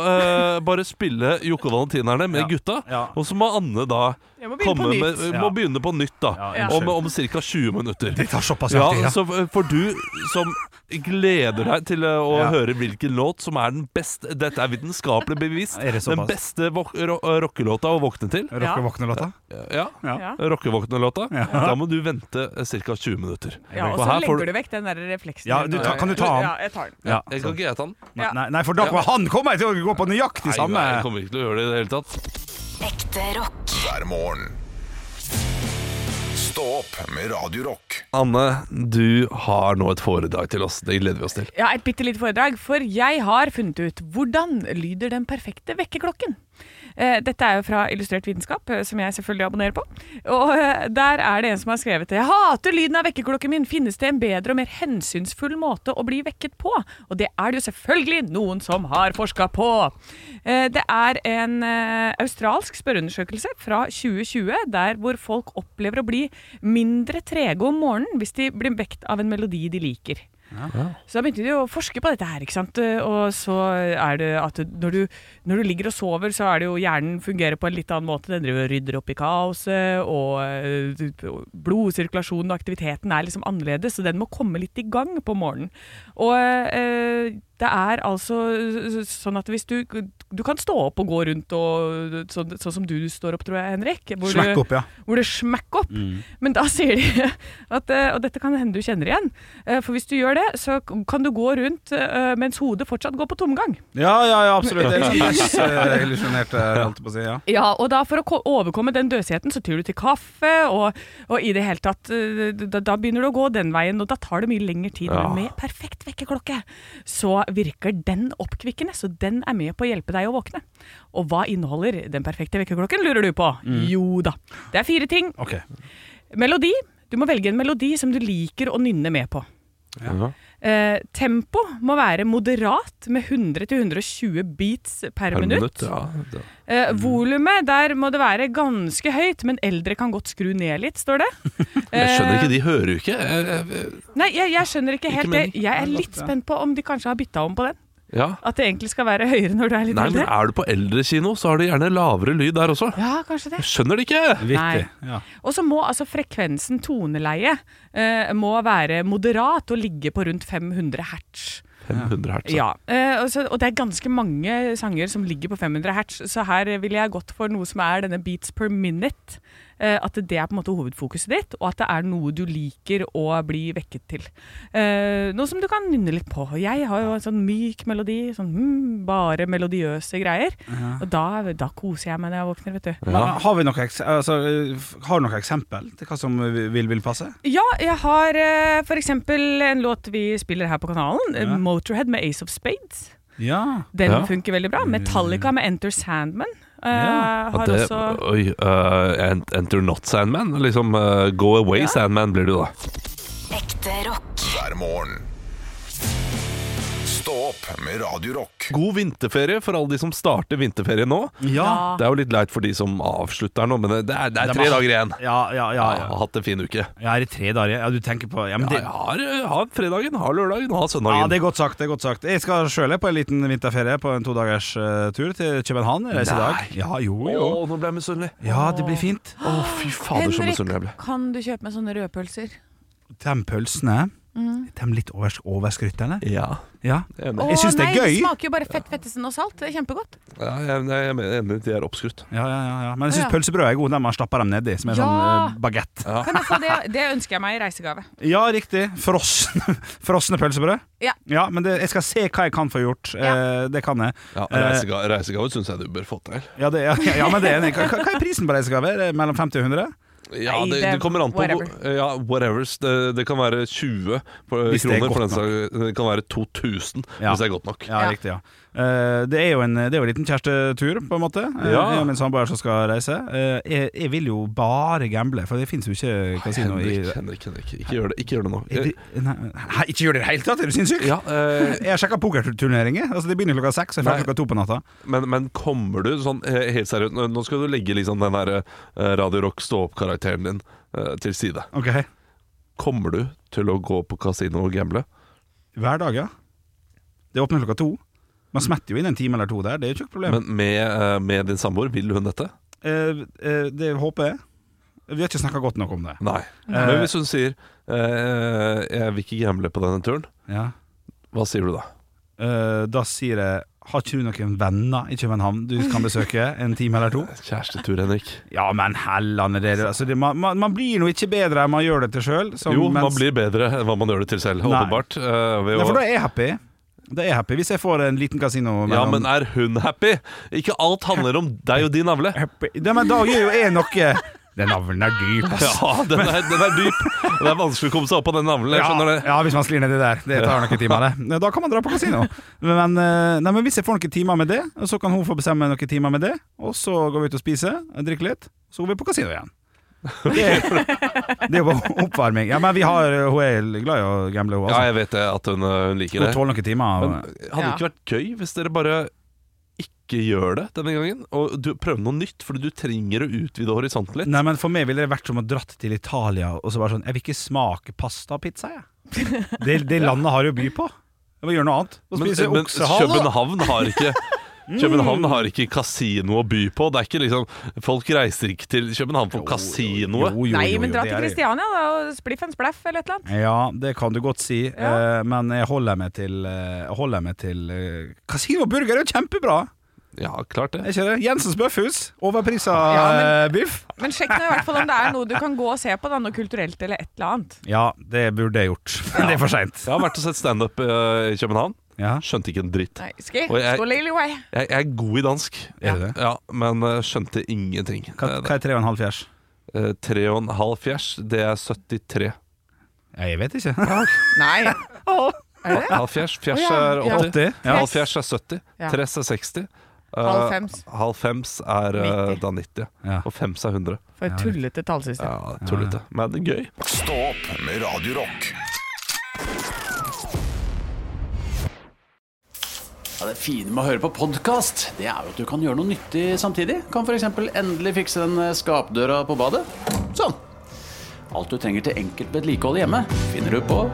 Speaker 3: eh, bare spille Jokke og Valentinerne med
Speaker 6: Ja.
Speaker 3: gutta.
Speaker 6: Ja.
Speaker 3: Og så må Anne da
Speaker 4: Jeg må begynne
Speaker 3: komme
Speaker 4: på
Speaker 3: med, må
Speaker 4: nytt.
Speaker 6: Ja.
Speaker 3: begynne på nytt da
Speaker 6: Ja,
Speaker 3: om,
Speaker 6: unnskyld.
Speaker 3: om ca. 20 minutter.
Speaker 6: Det tar såpass
Speaker 3: Ja,
Speaker 6: lang tid, ja.
Speaker 3: så eh, for du som gleder deg til eh, å
Speaker 6: Ja.
Speaker 3: høre hvilken låt som er den beste Dette er vitenskapelig bevist.
Speaker 6: Er det såpass?
Speaker 3: den beste vok- ro- rockelåta å våkne til.
Speaker 6: Rock og våkne-låta?
Speaker 3: Ja.
Speaker 4: Ja.
Speaker 3: Rockevåkne-låta. Da må du vente ca. 20 minutter.
Speaker 4: Ja, og
Speaker 3: For
Speaker 4: så
Speaker 3: her får
Speaker 4: legger
Speaker 3: du-
Speaker 4: du vekk den der refleksen.
Speaker 6: Ja, du ta- kan du ta den?
Speaker 4: Ja, jeg tar den.
Speaker 6: Ja.
Speaker 3: Jeg kan ikke jeg ta den?
Speaker 4: Ja.
Speaker 6: Nei, nei, for da kommer han kommer til å gå på nøyaktig
Speaker 3: Nei,
Speaker 6: samme
Speaker 3: nei, jeg kommer ikke til å gjøre det i det hele tatt.
Speaker 7: Ekte rock.
Speaker 2: hver morgen. Stå opp med Radio Rock.
Speaker 3: Anne, du har nå et foredrag til oss. Det gleder vi oss til.
Speaker 4: Ja, et bitte lite foredrag, for jeg har funnet ut hvordan lyder den perfekte vekkerklokken. Eh, Dette er jo fra Illustrert vitenskap, eh, som jeg selvfølgelig abonnerer på. Og eh, der er det en som har skrevet det. Jeg hater lyden av vekkerklokken min. Finnes det en bedre og mer hensynsfull måte å bli vekket på? Og det er det jo selvfølgelig noen som har forska på. Eh, Det er en eh, australsk spørreundersøkelse fra 2020, der hvor folk opplever å bli mindre trege om morgenen hvis de blir vekt av en melodi de liker. Så da begynte de å forske på dette her, ikke sant. Og så er det at når du, når du ligger og sover, så er det jo hjernen fungerer på en litt annen måte. Den driver og rydder opp i kaoset, og eh, blodsirkulasjonen og aktiviteten er liksom annerledes, så den må komme litt i gang på morgenen. Og eh, det er altså sånn at hvis du Du kan stå opp og gå rundt og sånn, sånn som du står opp, tror jeg, Henrik. hvor du-
Speaker 6: Smack opp, ja.
Speaker 4: hvor det smekk opp. Men da sier de at eh, Og dette kan hende du kjenner igjen. eh, For hvis du gjør det, så kan du gå rundt eh, mens hodet fortsatt går på tomgang.
Speaker 6: Ja, ja, ja, absolutt. Det er litt sånn illusjonert, holdt jeg på å si. Ja.
Speaker 4: Ja, og da for å ko- overkomme den døsheten, så tyr du til kaffe, og, og i det hele tatt eh, da, da begynner du å gå den veien, og da tar det mye lengre tid.
Speaker 3: Ja.
Speaker 4: Men med perfekt vekkerklokke så virker den oppkvikkende, så den er med på å hjelpe deg å våkne. Og hva inneholder den perfekte vekkerklokken, lurer du på? Jo da. Det er fire ting.
Speaker 6: Ok.
Speaker 4: Melodi. Du må velge en melodi som du liker å nynne med på.
Speaker 3: Ja.
Speaker 4: Eh, tempo må være moderat, med 100-120 beats per,
Speaker 3: Per
Speaker 4: minutt.
Speaker 3: minutt, ja. Mm. Det-
Speaker 4: Eh, volumet, der må det være ganske høyt, men eldre kan godt skru ned litt, står det.
Speaker 3: Jeg skjønner
Speaker 4: Eh,
Speaker 3: ikke, de hører jo ikke. Eh, Jeg- jeg-
Speaker 4: Nei, jeg, jeg skjønner ikke helt
Speaker 3: meningen.
Speaker 4: det. Jeg er litt spent på om de kanskje har bytta om på den.
Speaker 3: Ja.
Speaker 4: At det egentlig skal være høyere når du er litt
Speaker 3: Nei, men
Speaker 4: eldre.
Speaker 3: er du på eldrekino, så har de gjerne lavere lyd der også.
Speaker 4: Ja, kanskje det.
Speaker 3: Jeg skjønner det ikke!
Speaker 4: Nei.
Speaker 6: Vittig. Ja.
Speaker 4: Og så må altså frekvensen, toneleie, eh, må være moderat og ligge på rundt 500 hertz.
Speaker 3: 500 hertz.
Speaker 4: Ja, eh, og, så, og det er ganske mange sanger som ligger på 500 hertz, så her ville jeg gått for noe som er denne beats per minute. eh, At det er på en måte hovedfokuset ditt, og at det er noe du liker å bli vekket til. Eh, Noe som du kan nynne litt på. Jeg har jo en sånn myk melodi, sånn mm, bare melodiøse greier. Og da, da koser jeg meg når jeg våkner, vet du.
Speaker 6: Men Har, vi noe, eks- altså, eh, har du noe eksempel til hva som vil, vil passe?
Speaker 4: Ja, jeg har eh, for eksempel en låt vi spiller her på kanalen, eh,
Speaker 6: Ja.
Speaker 4: Motorhead med Ace of Spades.
Speaker 6: Ja.
Speaker 4: Den
Speaker 3: Ja.
Speaker 4: funker veldig bra. Metallica med Enter Sandman. eh,
Speaker 6: Ja,
Speaker 4: har
Speaker 3: At det,
Speaker 4: også
Speaker 3: Oi, eh, ent- enter not Sandman. Liksom eh, go away Sandman blir du da.
Speaker 7: Ekte rock.
Speaker 2: hver morgen. Stå opp med Radio Rock.
Speaker 3: God vinterferie for alle de som starter vinterferie nå.
Speaker 6: Ja.
Speaker 3: Det er jo litt leit for de som avslutter nå, men det det er, det er
Speaker 6: Det
Speaker 3: tre
Speaker 6: var-
Speaker 3: dager igjen.
Speaker 6: Ja, ja, ja.
Speaker 3: Jeg
Speaker 6: ja.
Speaker 3: har hatt en fin uke.
Speaker 6: Ja, er det tre dager? Ja, du tenker på ja, men
Speaker 3: Ja,
Speaker 6: det,
Speaker 3: jeg har, jeg har fredagen, har lørdagen, har søndagen.
Speaker 6: Ja, det er godt sagt. det er godt sagt Jeg skal sjøl på en liten vinterferie på en todagers eh, tur til København. Jeg Reiser i dag. Ja, jo, jo.
Speaker 3: Å, nå ble jeg misunnelig.
Speaker 6: Ja, det blir fint.
Speaker 3: Å, fy fader, så misunnelig jeg ble.
Speaker 4: kan du kjøpe meg sånne rødpølser?
Speaker 6: De pølsene
Speaker 4: Mm.
Speaker 6: De litt overs overskrytterne.
Speaker 3: Ja,
Speaker 6: Ja.
Speaker 3: enig.
Speaker 6: Jeg syns det er gøy.
Speaker 4: smaker jo bare fett, fettesen og salt. Det er kjempegodt.
Speaker 3: Ja, jeg, jeg, jeg mener enig, de er oppskrutt.
Speaker 6: Ja, ja, ja, ja. Men
Speaker 4: Ja,
Speaker 6: jeg syns
Speaker 4: ja.
Speaker 6: pølsebrød er gode. De har stappa dem nedi, som er
Speaker 4: Ja.
Speaker 6: sånn uh, bagett.
Speaker 4: Kan jeg få det? Det ønsker jeg meg i reisegave.
Speaker 6: Ja, riktig. Frosne, frosne pølsebrød.
Speaker 4: Ja.
Speaker 6: Men det, jeg skal se hva jeg kan få gjort.
Speaker 4: Ja.
Speaker 6: Eh, det kan jeg. Eh,
Speaker 3: Ja, reisegave, reisegave syns jeg du bør få til.
Speaker 6: Ja, det, ja, ja men det er enig. Hva, hva hva er prisen på reisegave? Er det Mellom 50 og 100?
Speaker 3: Ja,
Speaker 4: Nei,
Speaker 3: det,
Speaker 4: det-
Speaker 3: det kommer an på
Speaker 4: whatever.
Speaker 3: hvor- Ja, whatevers. Det, det kan være 20 på,
Speaker 6: Hvis det er
Speaker 3: kroner.
Speaker 6: godt
Speaker 3: For den, sak- det kan være 2000
Speaker 6: Ja.
Speaker 3: hvis det er godt nok.
Speaker 6: Ja,
Speaker 4: Ja.
Speaker 6: riktig, ja. Eh, det, er jo en, det er jo en liten kjærestetur, på en måte. Eh,
Speaker 3: Ja.
Speaker 6: Jeg og min samboer som skal reise. Eh, jeg, jeg vil jo bare gamble, for det fins jo ikke kasino i
Speaker 3: Henrik, Henrik, Henrik, ikke gjør det. Ikke gjør det nå.
Speaker 6: Er det- Nei, hæ, Ikke gjør det i det hele tatt, er du sinnssyk?
Speaker 3: Ja, eh,
Speaker 6: Jeg har sjekka pokerturneringer. Altså, det begynner klokka seks, og jeg er ferdig
Speaker 3: Nei.
Speaker 6: klokka to på natta.
Speaker 3: Men, men kommer du sånn eh, helt seriøst Nå nå skal du legge liksom den der eh, Radio Rock stå-opp-karakteren din eh, til side.
Speaker 6: Ok
Speaker 3: Kommer du til å gå på kasino og gamble?
Speaker 6: Hver dag, ja. Det åpner klokka to. Man smetter jo inn en time eller to der, det er jo ikke noe problem.
Speaker 3: Men med, eh, med din samboer, vil hun dette?
Speaker 6: Eh, eh, det håper jeg. Vi har ikke snakka godt nok om det.
Speaker 3: Nei. Men hvis hun sier eh, 'jeg vil ikke gamble på denne turen',
Speaker 6: Ja.
Speaker 3: Hva sier du da?
Speaker 6: Eh, da sier jeg Har ikke du noen venner i København du kan besøke en time eller to?
Speaker 3: Kjærestetur, Henrik.
Speaker 6: Ja, men hellene det, altså, det man, man, man blir nå ikke bedre enn man gjør det til sjøl.
Speaker 3: Jo, man blir bedre enn hva man gjør det til selv,
Speaker 6: Nei.
Speaker 3: åpenbart. eh, ved
Speaker 6: Nei,
Speaker 3: å-
Speaker 6: for da er jeg happy. Da er jeg happy Hvis jeg får en liten kasino
Speaker 3: ja,
Speaker 6: mellom-
Speaker 3: men er hun happy? Ikke alt handler om deg og din navle.
Speaker 6: happy. Nei, men da gjør jo jeg noe Den navlen er dyp, ass.
Speaker 3: Ja, den er, den er dyp. Det er vanskelig å komme seg opp av den navlen. Jeg skjønner det.
Speaker 6: Ja, hvis man sklir ned i det der. Det tar noen timer, det. Da kan man dra på kasino. Men, eh, nei, men hvis jeg får noen timer med det, så kan hun få bestemme noen timer med det. Og så går vi ut og spiser, drikker litt, så går vi på kasino igjen. Det, det er jo bare oppvarming. Ja, men vi har, hun er glad i å gamble, hun.
Speaker 3: Ja,
Speaker 6: Altså.
Speaker 3: jeg vet det, at hun, eh, hun liker
Speaker 6: Hun
Speaker 3: det.
Speaker 6: tåler noen timer.
Speaker 3: Men hadde det ikke vært gøy hvis dere bare ikke gjør det denne gangen? Og du prøver noe nytt, fordi du trenger å utvide horisonten litt.
Speaker 6: Nei, men For meg ville det vært som å dratt til Italia og så bare sånn Jeg vil ikke smake pasta og pizza, jeg. Det, det landet har jo by på. Jeg må gjøre noe annet. Og
Speaker 3: Men, eh,
Speaker 6: spise
Speaker 3: men
Speaker 6: oksehale. Mm.
Speaker 3: København
Speaker 6: da.
Speaker 3: har ikke København har ikke kasino å by på. Det er ikke liksom, Folk reiser ikke til København for kasinoet.
Speaker 6: Jo, jo,
Speaker 4: Nei,
Speaker 6: jo,
Speaker 4: men
Speaker 6: jo,
Speaker 4: dra
Speaker 6: det
Speaker 4: til
Speaker 6: er det.
Speaker 4: Kristiania, da. og Spliff en splaff eller et eller annet.
Speaker 6: Ja, det kan du godt si,
Speaker 4: Ja.
Speaker 6: eh, men jeg holder meg til eh, Jeg holder meg til eh, Casino Burger er jo kjempebra!
Speaker 3: Ja, klart det.
Speaker 6: Er ikke det? Jensens Bøffhus. Overprisa
Speaker 4: Ja,
Speaker 6: eh, biff.
Speaker 4: Men sjekk nå i hvert fall om det er noe du kan gå og se på, da, noe kulturelt eller et eller annet.
Speaker 6: Ja, det burde jeg gjort. Men det er for seint.
Speaker 3: Jeg har vært og sett standup eh, i København.
Speaker 6: Ja.
Speaker 3: Skjønte ikke en dritt.
Speaker 4: Nei, ski,
Speaker 3: Og jeg-
Speaker 4: skål, lille vei.
Speaker 3: Jeg, jeg er god i dansk,
Speaker 6: Er du det?
Speaker 3: ja, men eh, skjønte ingenting.
Speaker 6: Hva,
Speaker 3: Eh,
Speaker 6: hva er tre og en halv fjers?
Speaker 3: eh, Tre og en halv fjers, det er 73.
Speaker 6: Ja, jeg vet ikke.
Speaker 4: Nei. Er det det?
Speaker 3: Halv fjers, fjers
Speaker 4: Å, ja.
Speaker 3: er
Speaker 4: Ja.
Speaker 3: 80.
Speaker 6: 80? Ja.
Speaker 3: Halv fjers er 70.
Speaker 4: Ja.
Speaker 3: Tres er 60. eh,
Speaker 4: Halv fems.
Speaker 3: halv fems er eh,
Speaker 4: 90.
Speaker 3: da 90.
Speaker 6: Ja.
Speaker 3: Og fems er 100.
Speaker 4: For et tullete tallsystem.
Speaker 3: Ja, Tullete, men det er gøy.
Speaker 2: Stå opp med Radio Rock.
Speaker 1: Ja, det fine med å høre på podkast, det er jo at du kan gjøre noe nyttig samtidig. Kan f.eks. endelig fikse den eh, skapdøra på badet. Sånn. Alt du trenger til enkelt vedlikehold hjemme, finner du på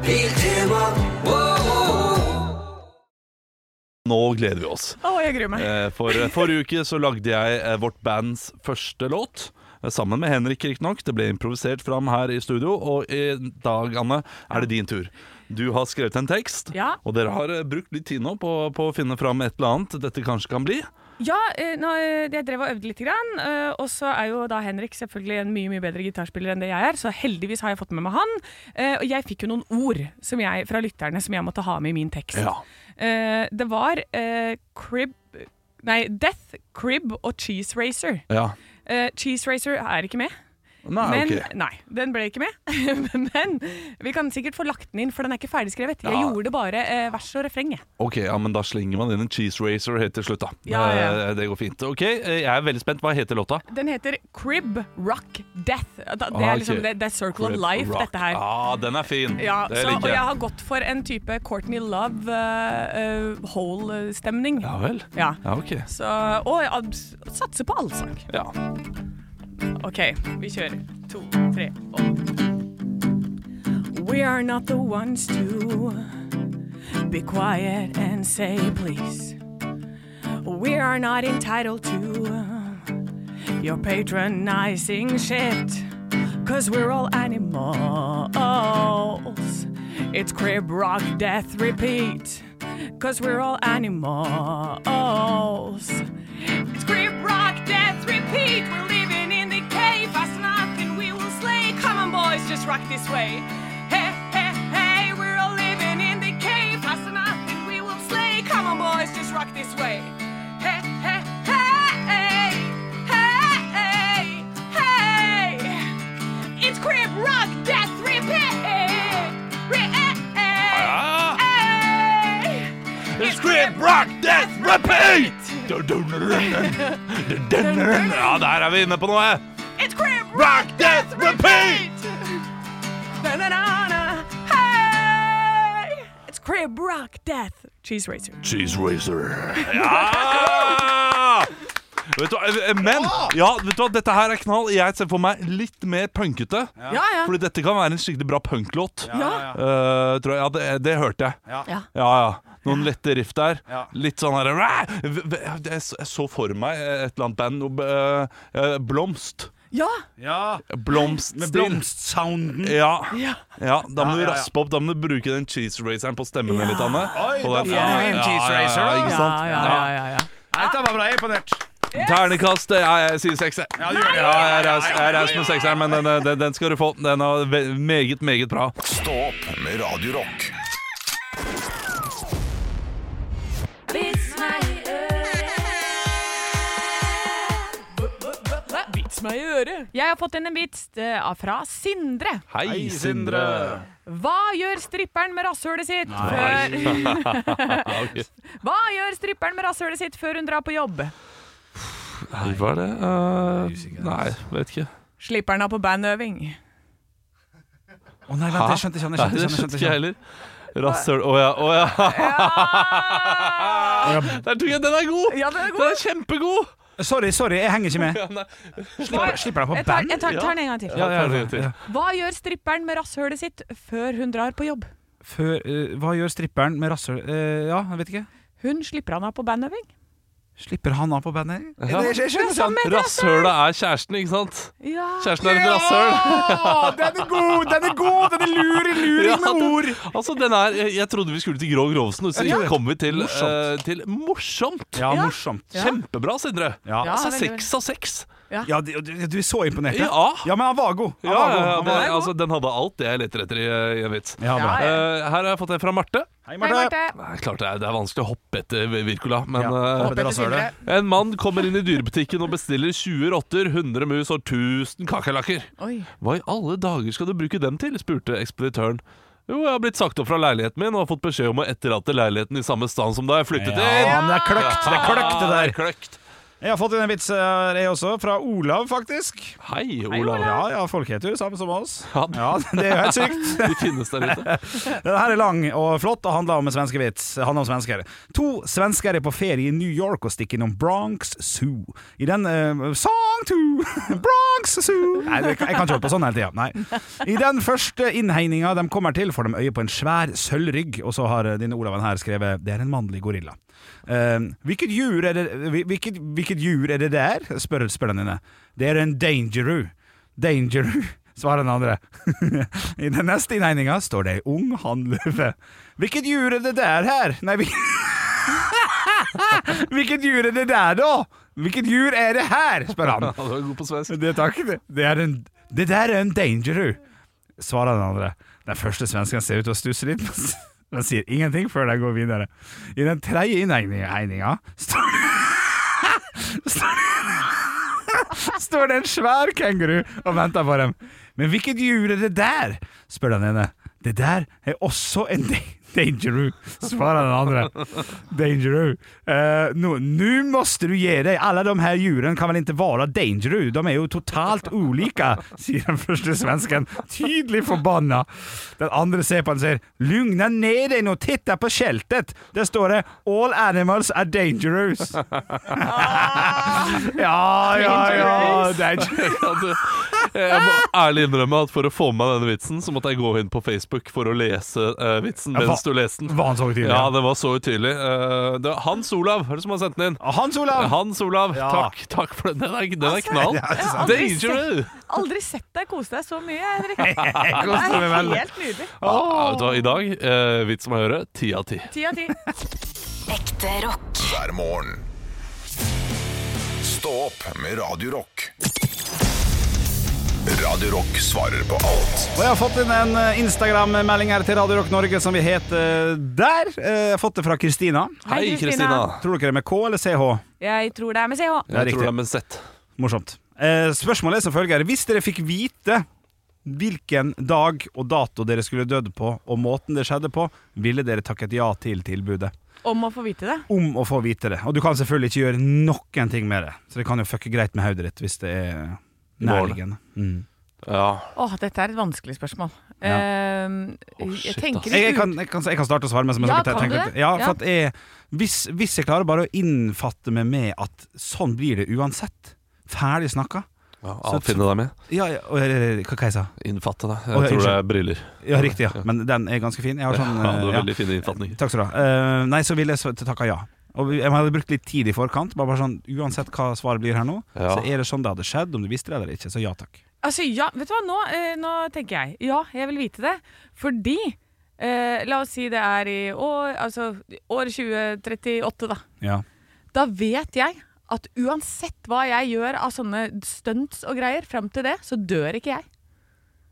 Speaker 3: Nå gleder vi oss.
Speaker 4: Å, jeg gruer meg.
Speaker 3: Eh, For eh, forrige uke så lagde jeg eh, vårt bands første låt. eh, Sammen med Henrik, riktignok. Det ble improvisert fram her i studio. Og i dag, Anne, er det din tur. Du har skrevet en tekst,
Speaker 4: Ja.
Speaker 3: og dere har eh, brukt litt tid nå på, på å finne fram et eller annet dette kanskje kan bli.
Speaker 4: Ja, eh, nå, eh, jeg drev og øvde litt. Grann, eh, og så er jo da Henrik selvfølgelig en mye mye bedre gitarspiller enn det jeg er, så heldigvis har jeg fått med meg han. Eh, Og jeg fikk jo noen ord som jeg, fra lytterne som jeg måtte ha med i min tekst. Eh, Det var eh, crib Nei, Death, Crib og Cheese Racer.
Speaker 3: Ja.
Speaker 4: Eh, Cheese Racer er ikke med.
Speaker 3: Nei,
Speaker 4: Men,
Speaker 3: Ah, ok.
Speaker 4: nei, den ble ikke med. Men vi kan sikkert få lagt den inn, for den er ikke ferdigskrevet. Jeg
Speaker 3: Ja.
Speaker 4: gjorde bare eh, vers og refreng. jeg.
Speaker 3: Ok, ja, men da slenger man inn en cheese racer helt til slutt, da.
Speaker 4: Ja, ja.
Speaker 3: Eh, Det går fint. Ok, eh, jeg er veldig spent. Hva heter låta?
Speaker 4: Den heter Crib Rock Death. Da- Det
Speaker 3: Ah,
Speaker 4: er
Speaker 3: ok.
Speaker 4: liksom det, det er Circle of
Speaker 3: Red
Speaker 4: Life,
Speaker 3: Rock.
Speaker 4: dette her.
Speaker 3: Ja, den er fin.
Speaker 4: Ja,
Speaker 3: det
Speaker 4: så, og
Speaker 3: liker
Speaker 4: jeg
Speaker 3: jeg.
Speaker 4: har gått for en type Courtney Love, uh, Hole-stemning.
Speaker 3: Ja vel.
Speaker 4: Ja.
Speaker 3: Ja, ok.
Speaker 4: Så, og jeg abs- satser på allsang.
Speaker 3: Ja.
Speaker 4: Ok, vi kjører. To, tre, og We are not the ones to be quiet and say please. We are not entitled to your patronizing shit. Cause we're all animals. It's crib rock death repeat. Cause we're all animals. It's crib rock death repeat. We're living in the cave. Us nothing we will slay. Come on, boys, just rock this way. Hey, hey, hey, we're all living in the cave. Us nothing we will slay. Come on, boys, just rock this way. Hey, hey, hey, hey, hey, hey. It's crib rock death repeat. eh,
Speaker 3: Ah!
Speaker 4: Hey.
Speaker 3: It's Crib Rock Death Repeat! Ja, der er vi inne på noe.
Speaker 4: It's crib
Speaker 3: Rock Death Repeat!
Speaker 4: Na-na-na-na. Hey! It's crib rock death. Cheese racer.
Speaker 3: Cheese Racer. Ja! Vet du, hva, eh, men ja, vet du hva, dette her er knall. Jeg ser for meg litt mer punkete.
Speaker 4: Ja, ja.
Speaker 3: Fordi dette kan være en skikkelig bra punklåt.
Speaker 4: ja.
Speaker 3: Eh, tror jeg. ja det, det hørte jeg.
Speaker 4: Ja.
Speaker 3: Ja, ja. Noen lette riff der. Litt sånn her "Ræ!" Jeg så for meg et eller annet band. noe, eh, eh, Blomst.
Speaker 4: Ja!
Speaker 6: Ja, med
Speaker 3: Blomststil.
Speaker 6: blomstsounden.
Speaker 3: Ja.
Speaker 4: ja.
Speaker 3: ja, da må du
Speaker 6: Ja, ja, ja.
Speaker 3: raspe opp. Da må du bruke den cheese raceren på stemmen
Speaker 4: Ja.
Speaker 3: litt, Anne.
Speaker 6: Oi,
Speaker 3: På
Speaker 6: da
Speaker 3: den-
Speaker 6: får du en cheese racer, da.
Speaker 3: ikke
Speaker 4: Ja,
Speaker 3: sant?
Speaker 4: ja, ja, ja, ja.
Speaker 6: Dette var bra, jeg er imponert.
Speaker 3: Ternekast, ja, jeg sier seks. jeg. Ja, jeg er raus- jeg er raus med sekseren, men den, den, den skal du få. Den er ve- meget, meget bra.
Speaker 2: Stå opp med Radio Rock.
Speaker 4: Hva? Vits meg i øret. Jeg har fått inn en vits eh, fra Sindre.
Speaker 3: Hei, Sindre.
Speaker 4: Hva gjør stripperen med rasshølet sitt før Hva gjør stripperen med rasshølet sitt før hun drar på jobb?
Speaker 3: Nei, Hva er det? Eh, nei, vet ikke.
Speaker 4: Slipper han av på bandøving?
Speaker 6: Å nei, vent, jeg skjønte ikke, jeg
Speaker 3: Nei, det
Speaker 6: skjønte ikke, jeg
Speaker 3: skjønte
Speaker 6: skjønte
Speaker 3: ikke jeg heller.
Speaker 6: ikke.
Speaker 3: Rasshøl Å ja, å ja.
Speaker 4: Ja!
Speaker 3: Der tok jeg Den er god!
Speaker 4: Ja, den er god.
Speaker 3: Den er kjempegod!
Speaker 6: Sorry, sorry, jeg henger ikke med. Slipper, slipper deg på
Speaker 4: Jeg tar,
Speaker 6: band?
Speaker 4: jeg tar, tar den en gang til.
Speaker 3: Ja, ja, ja, ja.
Speaker 4: Hva gjør stripperen med rasshølet sitt før hun drar på jobb?
Speaker 6: Før, eh, hva gjør stripperen med rasshøl eh, Ja, jeg vet ikke.
Speaker 4: Hun slipper han av på bandøving.
Speaker 6: Slipper han av på bandet?
Speaker 3: Ja.
Speaker 6: Det er ikke
Speaker 4: Som
Speaker 6: sånn.
Speaker 4: et rasshøl!
Speaker 3: Rasshøla er kjæresten, ikke sant?
Speaker 4: Ja.
Speaker 3: Kjæresten er et rasshøl.
Speaker 6: Å, Den er god! Den er god! Den er lur i
Speaker 3: Ja,
Speaker 6: luring med
Speaker 3: den-
Speaker 6: ord!
Speaker 3: Altså, den er, jeg, jeg trodde vi skulle til Grå Grovsen, og så
Speaker 6: Ja.
Speaker 3: kom vi til morsomt.
Speaker 6: Morsomt.
Speaker 3: til morsomt.
Speaker 6: Ja, morsomt.
Speaker 3: Kjempebra, Sindre.
Speaker 4: Ja,
Speaker 3: altså,
Speaker 4: veldig, veldig.
Speaker 3: seks av seks.
Speaker 6: Ja, du, du- du er så imponert.
Speaker 3: Ja.
Speaker 6: ja men han var god. Han
Speaker 3: Ja, ja,
Speaker 6: var god.
Speaker 3: ja,
Speaker 6: Han
Speaker 3: det,
Speaker 6: var god.
Speaker 3: altså, den hadde alt det jeg leter etter i, i en vits.
Speaker 6: Ja,
Speaker 4: Ja,
Speaker 6: bra.
Speaker 4: ja.
Speaker 3: Eh, her har jeg fått en fra Marte.
Speaker 6: Hei,
Speaker 4: Hei,
Speaker 6: Marte.
Speaker 4: Marte.
Speaker 3: Nei, klart det er, det er vanskelig å hoppe etter Virkola, men
Speaker 6: Ja,
Speaker 3: eh,
Speaker 6: hoppe etter Sindre.
Speaker 3: En mann kommer inn i dyrebutikken og bestiller 20 rotter, 100 mus og 1000 kakerlakker.
Speaker 4: Oi.
Speaker 3: Hva i alle dager skal du bruke dem til? spurte ekspeditøren. Jo, jeg har blitt sagt opp fra leiligheten min og har fått beskjed om å etterlate leiligheten i samme stand som da jeg flyttet inn.
Speaker 6: Ja, men det er kløkt. Det er kløkt, det der.
Speaker 3: Kløkt.
Speaker 6: Jeg har fått inn en vits her, jeg også, fra Olav, faktisk.
Speaker 3: Hei, Olav.
Speaker 6: Ja, ja, folk heter jo det samme som oss.
Speaker 3: Ja, det-
Speaker 6: Ja, det er jo helt sykt.
Speaker 3: De finnes der ute.
Speaker 6: Den her er lang og flott og handler om en svenskevits. Det handler om svensker. To svensker er på ferie i New York og stikker innom Bronx Zoo. I den eh, Song to Bronx Zoo Nei, det- jeg kan ikke holde på sånn hele tida. Nei. I den første innhegninga de kommer til, får de øye på en svær sølvrygg, og så har eh, denne Olaven her skrevet 'Det er en mannlig gorilla'. Eh, hvilket, djur er det, hvil- hvilket, hvilket djur er det der? spør, spør den ene. Det er en dangeroo. Dangeroo, svarer den andre. I den neste innhegninga står det ei ung hannløve. Hvilket djur er det der her? Nei, hvil... hvilket djur er det der, da? Hvilket djur er det her? spør han.
Speaker 3: Ja, du er god på svensk.
Speaker 6: Det, takk, det, det, er en, det der er en dangeroo, svarer den andre. Den første svensken ser ut til å stusse litt, men s- men sier ingenting før de går videre. I den tredje innhegninga står står står det en svær kenguru og venter på dem. Men hvilket djur er det der? spør den ene. Det der er også en da- dangeroo, svarer den andre. Dangeroo. Eh, Nå nu måste du ge dig. Alla de här djuren kan väl inte vara dangeroo? De är ju totalt olika, säger den första svensken. Tydligt förbannad. Den andra ser på honom och säger Lugna ner dig och titta på kältet. Där står det All animals are dangerous. Ah! ja, ja, ja. Dangerous.
Speaker 3: Ja, du, jeg må ærlig innrømme at for å få med meg denne vitsen, så måtte jeg gå inn på Facebook for å lese eh, vitsen
Speaker 6: Ja, hva-
Speaker 3: mens du leste den.
Speaker 6: Var han så tydelig?
Speaker 3: Ja, det var så utydelig. Eh, det var Hans Olav er det som har sendt den inn.
Speaker 6: Ah, Hans Olav!
Speaker 3: Hans Olav,
Speaker 6: Ja.
Speaker 3: takk, takk for den. Den er, den er knall.
Speaker 6: det er ikke
Speaker 4: sant.
Speaker 3: Dangerous!
Speaker 4: Aldri sett deg kose deg så mye, Henrik.
Speaker 6: Jeg
Speaker 4: Det
Speaker 6: koste meg
Speaker 4: er
Speaker 6: veldig.
Speaker 4: helt nydelig.
Speaker 3: Ja, vet du hva, I dag, eh, vits om å høre, ti av ti.
Speaker 4: Ti av ti.
Speaker 7: Ekte rock.
Speaker 2: hver morgen. Stå opp med Radio Rock. Radio Rock svarer på alt
Speaker 6: Og jeg har fått inn en eh, Instagram-melding her til Radio Rock Norge som vi heter der. Eh, Jeg har fått det fra Kristina.
Speaker 3: Hei, Kristina.
Speaker 6: Tror dere det er med K eller CH?
Speaker 4: Jeg tror det er med CH.
Speaker 6: Det er
Speaker 3: Jeg tror
Speaker 6: riktig.
Speaker 3: det er med Z.
Speaker 6: Morsomt. Eh, Spørsmålet er som følger. Hvis dere fikk vite hvilken dag og dato dere skulle dødd på, og måten det skjedde på, ville dere takket ja til tilbudet
Speaker 4: Om å få vite det.
Speaker 6: om å få vite det? Og du kan selvfølgelig ikke gjøre noen ting med det, så det kan jo fucke greit med hodet ditt hvis det er nærliggende. Mm.
Speaker 3: Ja.
Speaker 4: Åh, dette er et vanskelig spørsmål.
Speaker 6: Ja.
Speaker 4: Ehm, jeg
Speaker 3: shit,
Speaker 4: tenker
Speaker 3: ass.
Speaker 6: Jeg,
Speaker 4: litt
Speaker 6: jeg, kan, jeg, kan, jeg kan starte å svare med som jeg
Speaker 4: Ja,
Speaker 6: skal
Speaker 4: kan du
Speaker 6: tenke litt.
Speaker 4: det?
Speaker 6: Ja,
Speaker 4: Ja.
Speaker 6: for at jeg, hvis, hvis jeg klarer bare å innfatte meg med at sånn blir det uansett. Ferdig snakka.
Speaker 3: ja
Speaker 6: Så-
Speaker 3: Avfinne deg med.
Speaker 6: Ja, ja, og- eller, hva hva jeg sa
Speaker 3: Innfatte deg.
Speaker 6: Å, ja,
Speaker 3: Jeg tror det
Speaker 6: unnskyld.
Speaker 3: er briller.
Speaker 6: Ja, riktig, ja. Men den er ganske fin. Jeg har sånn
Speaker 3: Ja, du
Speaker 6: eh,
Speaker 3: har
Speaker 6: ja.
Speaker 3: veldig fine innfatninger.
Speaker 6: Takk skal du ha. Eh, nei, så ville jeg s- takka ja. Og vi- jeg hadde brukt litt tid i forkant. Bare, bare sånn, Uansett hva svaret blir her nå,
Speaker 3: Ja.
Speaker 6: så er det sånn det hadde skjedd, om du visste det eller ikke. Så ja takk.
Speaker 4: Altså, ja, vet du hva, nå, eh, nå tenker jeg Ja, jeg vil vite det Fordi, eh, la oss si det er i år Altså, år 2038 da
Speaker 6: Ja.
Speaker 4: Da vet jeg at uansett hva jeg gjør av sånne stunts og greier Frem til det, så dør ikke jeg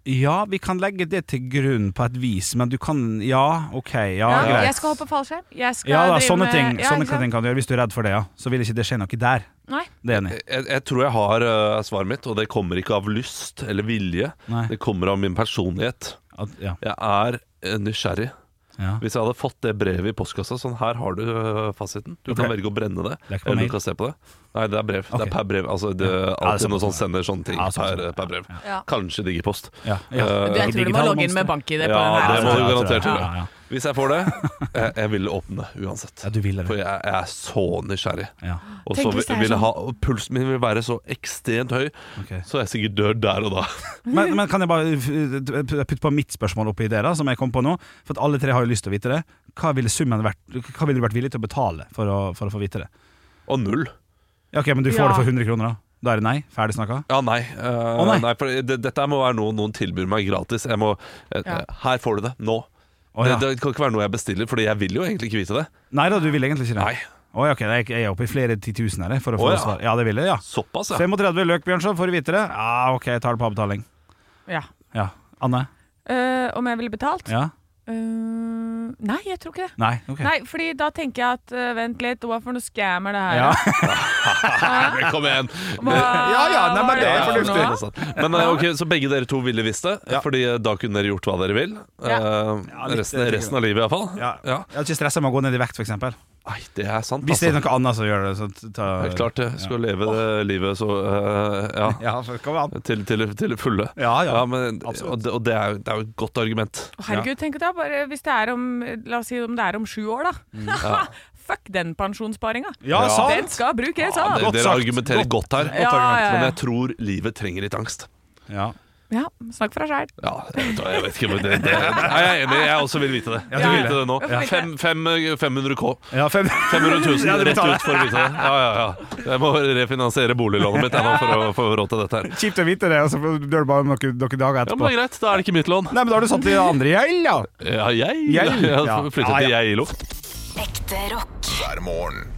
Speaker 6: ja, vi kan legge det til grunn på et vis, men du kan Ja, OK. Ja,
Speaker 4: ja,
Speaker 6: greit.
Speaker 4: Jeg skal hoppe fallskjerm Jeg skal
Speaker 6: Ja da,
Speaker 4: drive
Speaker 6: sånne
Speaker 4: med-
Speaker 6: ting,
Speaker 4: ja,
Speaker 6: sånne
Speaker 4: ikke sant?
Speaker 6: ting kan du gjøre hvis du er redd for det, ja. Så vil ikke det skje noe der.
Speaker 4: Nei,
Speaker 6: Det er enig.
Speaker 3: Jeg, jeg tror jeg har eh, svaret mitt, og det kommer ikke av lyst eller vilje.
Speaker 6: Nei.
Speaker 3: Det kommer av min personlighet.
Speaker 6: At, ja.
Speaker 3: Jeg er eh, nysgjerrig.
Speaker 6: Ja.
Speaker 3: Hvis jeg hadde fått det brevet i postkassa Sånn, her har du øh, fasiten. Du kan
Speaker 6: Ok.
Speaker 3: velge å brenne det.
Speaker 6: Det er ikke på
Speaker 3: eller
Speaker 6: mail.
Speaker 3: du kan se på det. Nei, det er brev. Det
Speaker 6: Ok.
Speaker 3: er per brev. Altså, det er
Speaker 6: Ja, det er
Speaker 3: alltid
Speaker 6: sånn.
Speaker 3: noen som sender sånne ting
Speaker 6: Ja, sånn.
Speaker 3: per, per brev.
Speaker 4: Ja.
Speaker 3: Kanskje Digipost.
Speaker 6: Ja.
Speaker 3: Eh,
Speaker 4: Du, jeg tror du må
Speaker 6: Digital
Speaker 4: logge inn med bank-ID
Speaker 3: ja,
Speaker 4: på den
Speaker 3: det må
Speaker 4: her altså.
Speaker 3: du
Speaker 6: Ja, jeg tror det.
Speaker 3: garantert gjøre.
Speaker 6: Ja, ja.
Speaker 3: Hvis jeg får det, jeg, jeg vil åpne det uansett.
Speaker 6: Ja, du ville
Speaker 3: For
Speaker 6: det.
Speaker 3: jeg, jeg er så nysgjerrig.
Speaker 6: Ja.
Speaker 3: Og
Speaker 4: Tenk
Speaker 3: så
Speaker 4: hvis
Speaker 3: vil,
Speaker 4: det er
Speaker 3: vil jeg
Speaker 4: sånn.
Speaker 3: ha, og pulsen min vil være så ekstremt høy,
Speaker 6: Ok.
Speaker 3: så jeg sikkert dør der og da.
Speaker 6: Men, men kan jeg bare f- putte på mitt spørsmål oppi det, da, som jeg kom på nå? For at alle tre har jo lyst til å vite det. Hva ville summen vært Hva ville du vært villig til å betale for å, for å få vite det?
Speaker 3: Og null.
Speaker 6: Ja, ok, Men du
Speaker 4: Ja.
Speaker 6: får det for 100 kroner, da? Da er det nei? Ferdig snakka?
Speaker 3: Ja, nei. Eh,
Speaker 6: nei.
Speaker 3: nei. for det, dette må være noe noen tilbyr meg gratis. Jeg må, eh,
Speaker 4: Ja.
Speaker 3: eh, Her får du det. Nå.
Speaker 6: Å, ja.
Speaker 3: det, det kan ikke være noe jeg bestiller, Fordi jeg vil jo egentlig ikke vite det.
Speaker 6: Nei da, du ville egentlig ikke det?
Speaker 3: Nei.
Speaker 6: Å, ja, ok, jeg jeg er oppe i flere titusener jeg, for å
Speaker 3: Å,
Speaker 6: få
Speaker 3: ja.
Speaker 6: svar. Ja, det ville jeg, ja.
Speaker 3: Såpass, ja.
Speaker 6: 35 løk, Bjørnson, får du vite det? Ja, ok, jeg tar det på avbetaling.
Speaker 4: Ja
Speaker 6: Ja. Anne?
Speaker 4: Eh, Om jeg ville betalt?
Speaker 6: Ja?
Speaker 4: Eh, nei, jeg tror ikke det
Speaker 6: Nei? Ok.
Speaker 4: Nei, fordi da tenker jeg at eh, Vent litt, hva for noe scammer det her
Speaker 6: Ja.
Speaker 4: er?
Speaker 3: Men Kom igjen!
Speaker 4: Hva,
Speaker 5: Ja, ja, nei,
Speaker 4: hva
Speaker 5: men det er
Speaker 4: for noe?
Speaker 5: fornuftig.
Speaker 6: altså.
Speaker 3: Men eh, ok, Så begge dere to ville visst det, Fordi eh, da kunne dere gjort hva dere vil. Eh,
Speaker 6: litt,
Speaker 3: resten,
Speaker 6: eh,
Speaker 3: resten av livet, iallfall.
Speaker 6: Ja. Jeg hadde ikke stressa med å gå ned i vekt, f.eks.
Speaker 3: Nei, det er sant,
Speaker 6: Hvis det er
Speaker 3: altså.
Speaker 6: noe annet som gjør det, så ta
Speaker 3: Det er klart det. Skal leve det livet så eh, Ja.
Speaker 6: Ja, så skal vi ha
Speaker 3: Til, til, til det fulle.
Speaker 6: Ja, ja.
Speaker 3: men, og
Speaker 6: Absolutt.
Speaker 3: det, og det, er, jo- det er jo et godt argument.
Speaker 4: Å, Herregud, tenk da, bare hvis det er om La oss si om det er om sju år, da. Fuck den pensjonssparinga!
Speaker 6: Ja, sånn! sant!
Speaker 4: Den skal brukes
Speaker 3: Ja,
Speaker 4: av!
Speaker 3: dere, dere
Speaker 6: sagt.
Speaker 3: argumenterer godt, her,
Speaker 4: Ja, ja, ja.
Speaker 3: men jeg tror livet trenger litt angst.
Speaker 6: Ja.
Speaker 4: Ja, snakk for deg sjæl.
Speaker 3: Ja, jeg vet, jeg vet ikke men det, det, Nei, jeg er enig, jeg også vil vite det. Jeg vil vite det nå.
Speaker 4: Ja.
Speaker 3: Fem, fem, 500 K.
Speaker 6: Ja, fem
Speaker 3: 500 000
Speaker 6: Ja, du
Speaker 3: rett
Speaker 6: betaler.
Speaker 3: ut for å vite det. Ja, ja, ja. Jeg må refinansiere boliglånet mitt jeg, nå, for å få råd til dette her.
Speaker 6: Kjipt å vite det, og så dør det bare noen, noen dager
Speaker 3: Ja, men
Speaker 6: etterpå.
Speaker 3: det er greit, da er det ikke mitt lån.
Speaker 6: Nei, men da har du satt i andre gjeld, ja!
Speaker 3: Ja, jeg,
Speaker 6: Jeg?
Speaker 3: jeg
Speaker 6: Ja.
Speaker 3: har flyttet til
Speaker 6: Ja, ja.
Speaker 3: Geilo.
Speaker 7: Ekte rock.
Speaker 2: hver morgen.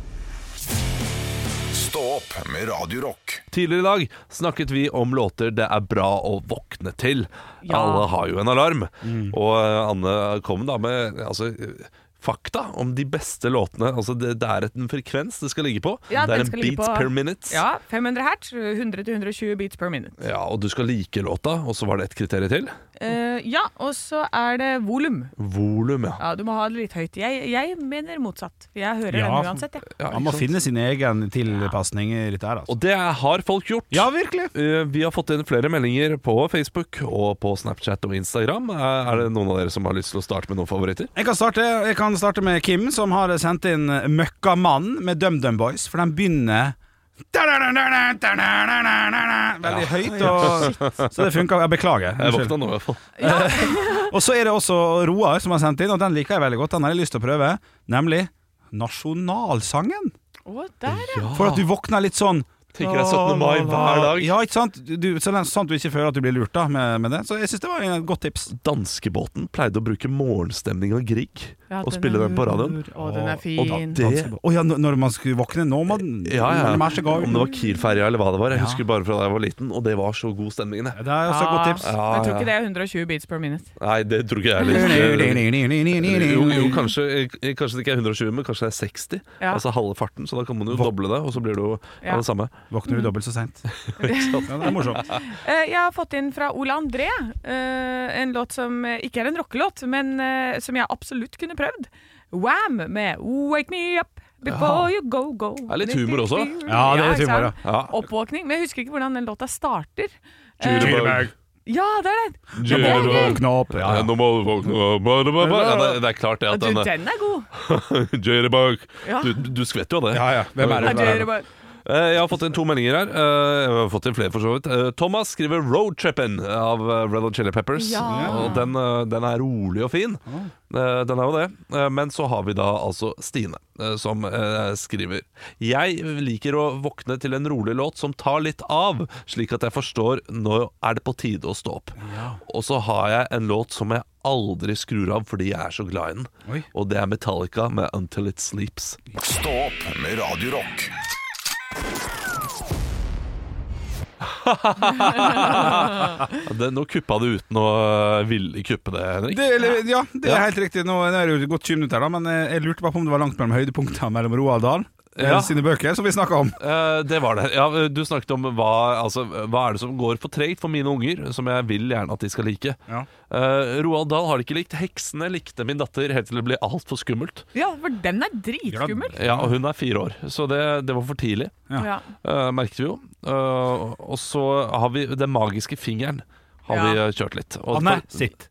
Speaker 2: Stå opp med Radio Rock.
Speaker 3: Tidligere i dag snakket vi om låter det er bra å våkne til.
Speaker 4: Ja. Mm.
Speaker 3: Alle har jo en alarm. Og eh, Anne kom da med altså, eh, fakta om de beste låtene. Altså, det, det er et- en frekvens det skal ligge på.
Speaker 4: Ja,
Speaker 3: det
Speaker 4: den
Speaker 3: er en
Speaker 4: skal ligge
Speaker 3: beats
Speaker 4: på-
Speaker 3: per minute.
Speaker 4: Ja, 500 hertz, 100-120 beats per minute.
Speaker 3: Ja, Og du skal like låta, og så var det et kriterium til.
Speaker 4: Eh, ja, og så er det volum.
Speaker 3: Volum, ja.
Speaker 4: Ja, du må ha det litt høyt. Jeg, jeg mener motsatt. Jeg hører
Speaker 6: Ja.
Speaker 4: den uansett, jeg.
Speaker 3: ja
Speaker 6: Man må
Speaker 3: ikke sant?
Speaker 6: finne sin egen tilpasning i dette her, altså.
Speaker 3: Og det har folk gjort.
Speaker 6: Ja, virkelig!
Speaker 3: Eh, Vi har fått inn flere meldinger på Facebook og på Snapchat og Instagram. Eh, Er det noen av dere som har lyst til å starte med noen favoritter?
Speaker 6: Jeg kan starte, jeg kan starte med Kim, som har sendt inn Møkkamann med DumDum Boys, for den begynner Veldig høyt, og, så det funka. Jeg beklager.
Speaker 3: Jeg
Speaker 6: Unnskyld.
Speaker 3: våkna nå, i hvert fall.
Speaker 6: Og så er det også Roar som har sendt inn, og den liker jeg veldig godt. Den har jeg lyst til å prøve, nemlig nasjonalsangen.
Speaker 4: Å, der, ja.
Speaker 6: For
Speaker 3: Ah.
Speaker 6: at du våkner litt sånn
Speaker 3: Tenker jeg 17. mai hver dag.
Speaker 6: Ja, ikke sant? Du, så det er sant du ikke føler at du blir lurt da med, med det. Så jeg syns det var et godt tips.
Speaker 3: Danskebåten pleide å bruke morgenstemning av Grieg
Speaker 4: Ja,
Speaker 3: og spille den på radioen.
Speaker 4: Å, den er fin.
Speaker 3: Og da, det,
Speaker 6: Å ja, når- når man skulle våkne nå, må den
Speaker 3: ja, ja.
Speaker 6: den
Speaker 3: Om
Speaker 6: er så gal.
Speaker 3: det var Kiel-ferja eller hva det var. Jeg husker bare fra da jeg var liten, og det var så god stemning. Det.
Speaker 6: Det er også et godt tips.
Speaker 4: Ja, jeg tror ikke det er 120 beats per minute.
Speaker 3: Nei, det tror ikke jeg heller. Jo, jo kanskje, eh, kanskje det ikke er 120, men kanskje det er 60.
Speaker 4: Ja.
Speaker 3: Altså halve farten, så da kan man jo doble det, og så blir det jo ja.
Speaker 4: Ja.
Speaker 3: det samme.
Speaker 6: Våkner du dobbelt så seint? Ja, det er morsomt.
Speaker 4: Eh, Jeg har fått inn fra Ole André eh, en låt som eh, ikke er en rockelåt, men eh, som jeg absolutt kunne prøvd. Wham! med Wake Me Up Before You Go Go. Det
Speaker 3: er litt humor også.
Speaker 6: Ja, det er litt humor, ja.
Speaker 4: Oppvåkning. Men jeg husker ikke hvordan den låta starter. Eh,
Speaker 3: Jitterbug.
Speaker 4: Ja, det er den!
Speaker 3: Jitterbug.
Speaker 6: Våkne opp. Ja,
Speaker 3: Ja,
Speaker 6: ja.
Speaker 3: Nå må du våkne Ba, ba, ba, ba. Ja, det- Det er klart det
Speaker 4: Og
Speaker 3: at
Speaker 4: du,
Speaker 3: den
Speaker 4: den er god.
Speaker 3: Jitterbug.
Speaker 4: Ja.
Speaker 3: Du, du skvetter jo av det.
Speaker 6: ja, ja. Hvem er det?
Speaker 4: Ja, det er bare-
Speaker 3: Eh, Jeg har fått inn to meldinger her. Eh, Jeg har fått inn flere for så vidt Eh, Thomas skriver 'Roadtrippin' av eh, Red Hot Chili Peppers.
Speaker 4: Ja.
Speaker 3: Og den, eh, den er rolig og fin. Eh, Den er jo det. Eh, Men så har vi da altså Stine, eh, som eh, skriver Jeg liker å våkne til en rolig låt som tar litt av, slik at jeg forstår nå er det på tide å stå opp. Og så har jeg en låt som jeg aldri skrur av fordi jeg er så glad i den.
Speaker 6: Oi.
Speaker 3: Og det er Metallica med 'Until It Sleeps'.
Speaker 2: Stå opp med Radio Rock.
Speaker 3: Det, nå kuppa du uten å øh, ville kuppe det, Henrik.
Speaker 6: Det, eller, ja, det er helt riktig. Nå nå er det jo gått 20 minutter, da, men eh, jeg lurte bare på om det var langt mellom høydepunktene mellom Roald Dahl eh,
Speaker 3: Ja.
Speaker 6: sine bøker, som vi snakka om.
Speaker 3: Eh, det var det. Ja, du snakket om hva, altså, hva er det som går for tregt for mine unger, som jeg vil gjerne at de skal like.
Speaker 6: Ja.
Speaker 3: Eh, Roald Dahl har det ikke likt. 'Heksene' likte min datter helt til det ble altfor skummelt.
Speaker 4: Ja, for den er dritskummel.
Speaker 3: Ja, og hun er fire år, så det, det var for tidlig.
Speaker 4: Ja.
Speaker 3: eh, merket vi jo. Eh, og så har vi 'Den magiske fingeren'. Har
Speaker 4: Ja.
Speaker 3: vi eh, kjørt litt. Og
Speaker 5: Anne, sitt.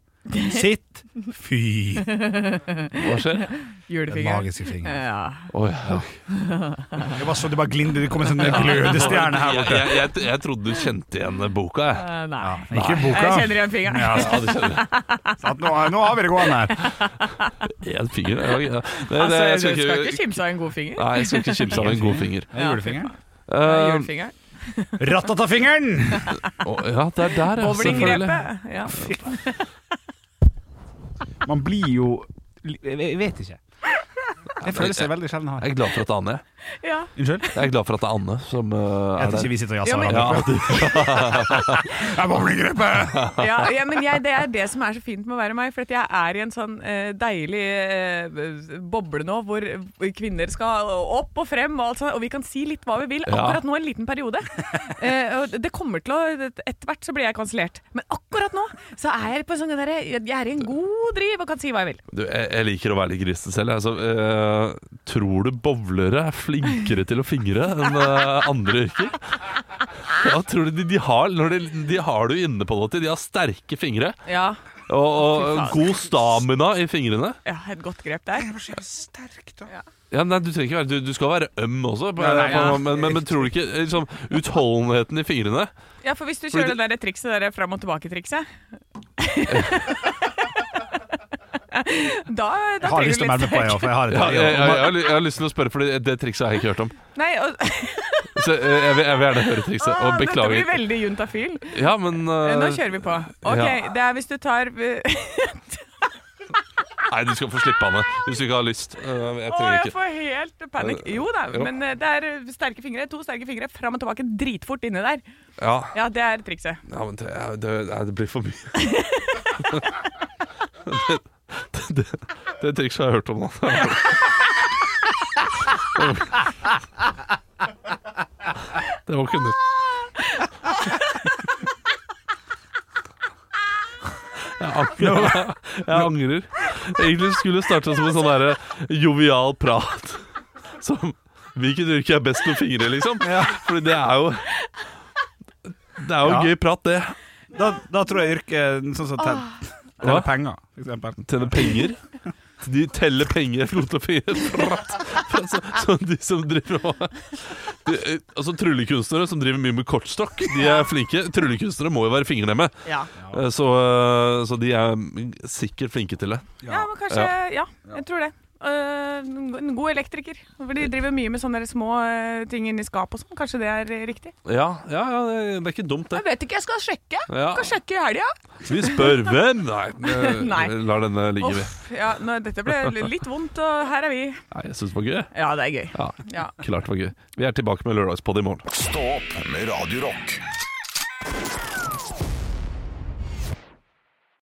Speaker 5: Sitt. Fy.
Speaker 3: hva skjer?
Speaker 4: Julefinger.
Speaker 6: Magiske fingre.
Speaker 4: Ja.
Speaker 3: Oi, ja.
Speaker 5: Jeg bare så det bare glinde, det kom en sånn glødestjerne her
Speaker 3: jeg,
Speaker 5: borte.
Speaker 3: jeg, jeg, jeg trodde du kjente igjen boka, jeg.
Speaker 4: Eh, Nei.
Speaker 5: Ikke boka.
Speaker 4: Jeg kjenner igjen fingeren.
Speaker 5: Ja,
Speaker 3: Ja, det kjenner jeg.
Speaker 5: sant, nå, nå har vi det gående her.
Speaker 3: Én finger? Ja, ja. Det, det,
Speaker 4: Altså, du
Speaker 3: jeg
Speaker 4: skal
Speaker 3: skal
Speaker 4: ikke
Speaker 3: ikke
Speaker 4: kimse av en god finger.
Speaker 3: Nei, jeg skal ikke kimse av en god finger.
Speaker 6: Det er julefingeren.
Speaker 4: Ja,
Speaker 3: Eh,
Speaker 4: Julefingeren.
Speaker 5: Ratatafingeren!
Speaker 3: å, ja, det er der, ja. Selvfølgelig.
Speaker 4: Bowlingrepet. Ja.
Speaker 6: Man blir jo Jeg vet ikke. Jeg føler seg veldig sjelden
Speaker 3: Jeg
Speaker 6: hard.
Speaker 3: er glad for at det er Anne.
Speaker 4: ja.
Speaker 6: Unnskyld?
Speaker 3: Jeg er glad for at det er Anne som eh,
Speaker 5: Jeg
Speaker 3: er
Speaker 5: tror
Speaker 3: der.
Speaker 5: ikke vi sitter og
Speaker 4: Ja,
Speaker 5: jazzer
Speaker 4: men-
Speaker 5: hverandre.
Speaker 3: Ja, det-
Speaker 5: Jeg må bli grepet!
Speaker 4: ja, ja, men jeg, det er det som er så fint med å være meg. For at jeg er i en sånn eh, deilig eh, boble nå, hvor kvinner skal opp og frem, og, alt sånt, og vi kan si litt hva vi vil.
Speaker 3: Ja.
Speaker 4: Akkurat nå en liten periode. Eh, og det kommer til å Etter hvert så blir jeg kansellert. Men akkurat nå så er jeg på en sånn der, Jeg er i en god driv og kan si hva jeg vil.
Speaker 3: du, jeg, jeg liker å være litt grisen selv. jeg. Altså, eh, tror du bowlere er flinkere til å fingre enn eh, andre yrker? Ja, tror du de, de, har, når de, de har det jo inne på det, de har sterke fingre
Speaker 4: Ja,
Speaker 3: og, og
Speaker 4: Fy faen.
Speaker 3: god stamina i fingrene.
Speaker 4: ja et godt grep der.
Speaker 3: Ja, nei, du trenger ikke være Du, du skal være øm også, på, på, men, men, men tror du ikke liksom, utholdenheten i fingrene
Speaker 4: Ja, for hvis du
Speaker 3: Fordi
Speaker 4: kjører det der trikset, det der fram og tilbake-trikset Da, da
Speaker 5: Jeg har
Speaker 4: trenger
Speaker 5: lyst til
Speaker 4: du
Speaker 5: å
Speaker 4: litt
Speaker 5: melde meg på, jeg også, for jeg har
Speaker 3: Ja, jeg, jeg, jeg,
Speaker 5: et
Speaker 3: har ly- jeg har lyst til å spørre, for det, det trikset har jeg ikke hørt om.
Speaker 4: Nei, og,
Speaker 3: Så eh, jeg vil, jeg vil gjerne høre trikset.
Speaker 4: Ah,
Speaker 3: Og
Speaker 4: Dette blir
Speaker 3: beklager.
Speaker 4: veldig juntafil.
Speaker 3: Ja, men eh,
Speaker 4: Nå kjører vi på. Ok,
Speaker 3: ja.
Speaker 4: det er hvis du tar Å,
Speaker 3: Nei, du skal få slippe, Anne. Hvis du ikke har lyst. Eh, Jeg trenger
Speaker 4: jeg
Speaker 3: ikke.
Speaker 4: får helt panikk. Jo da,
Speaker 3: Jo.
Speaker 4: men eh, det er sterke fingre. To sterke fingre fram og tilbake dritfort inni der.
Speaker 3: Ja,
Speaker 4: Ja, det er trikset.
Speaker 3: ja men det, er- det, nei, det blir for mye. Det, det, det trikset har jeg hørt om, da. Det var ikke nytt. Jeg angrer. Jeg angrer. Egentlig skulle det starte som en sånn derre jovial prat. Som Hvilket yrke er best med fingre, liksom? Fordi det er jo Det er jo
Speaker 6: Ja.
Speaker 3: gøy prat, det.
Speaker 6: Da, da tror jeg yrket sånn som tell, teller penger, for eksempel.
Speaker 3: Telle penger. De teller penger fra to fire. Så, så de som driver og de, eh, Altså Tryllekunstnere som driver mye med kortstokk, de er flinke. Tryllekunstnere må jo være fingerlemme,
Speaker 4: Ja.
Speaker 3: Eh, så, eh, så de er sikkert flinke til det.
Speaker 4: ja, men kanskje Ja, jeg tror det. Eh, en god elektriker. For de driver mye med sånne der små eh, ting inni skapet og sånn. Kanskje det er eh, riktig?
Speaker 3: Ja, ja, ja det, det er ikke dumt, det.
Speaker 4: Jeg vet ikke, jeg skal sjekke.
Speaker 3: Ja.
Speaker 4: Skal sjekke i helga.
Speaker 3: Vi spør hvem? Nei, eh,
Speaker 4: Nei.
Speaker 3: lar denne ligge, vi.
Speaker 4: Uff, Ja, nå, dette ble litt vondt, og her er vi.
Speaker 3: Nei, jeg syns det var gøy.
Speaker 4: Ja, det er gøy.
Speaker 3: Ja,
Speaker 4: Ja.
Speaker 3: klart det var gøy. Vi er tilbake med lørdagspodd i morgen.
Speaker 2: Stå opp med Radio Rock.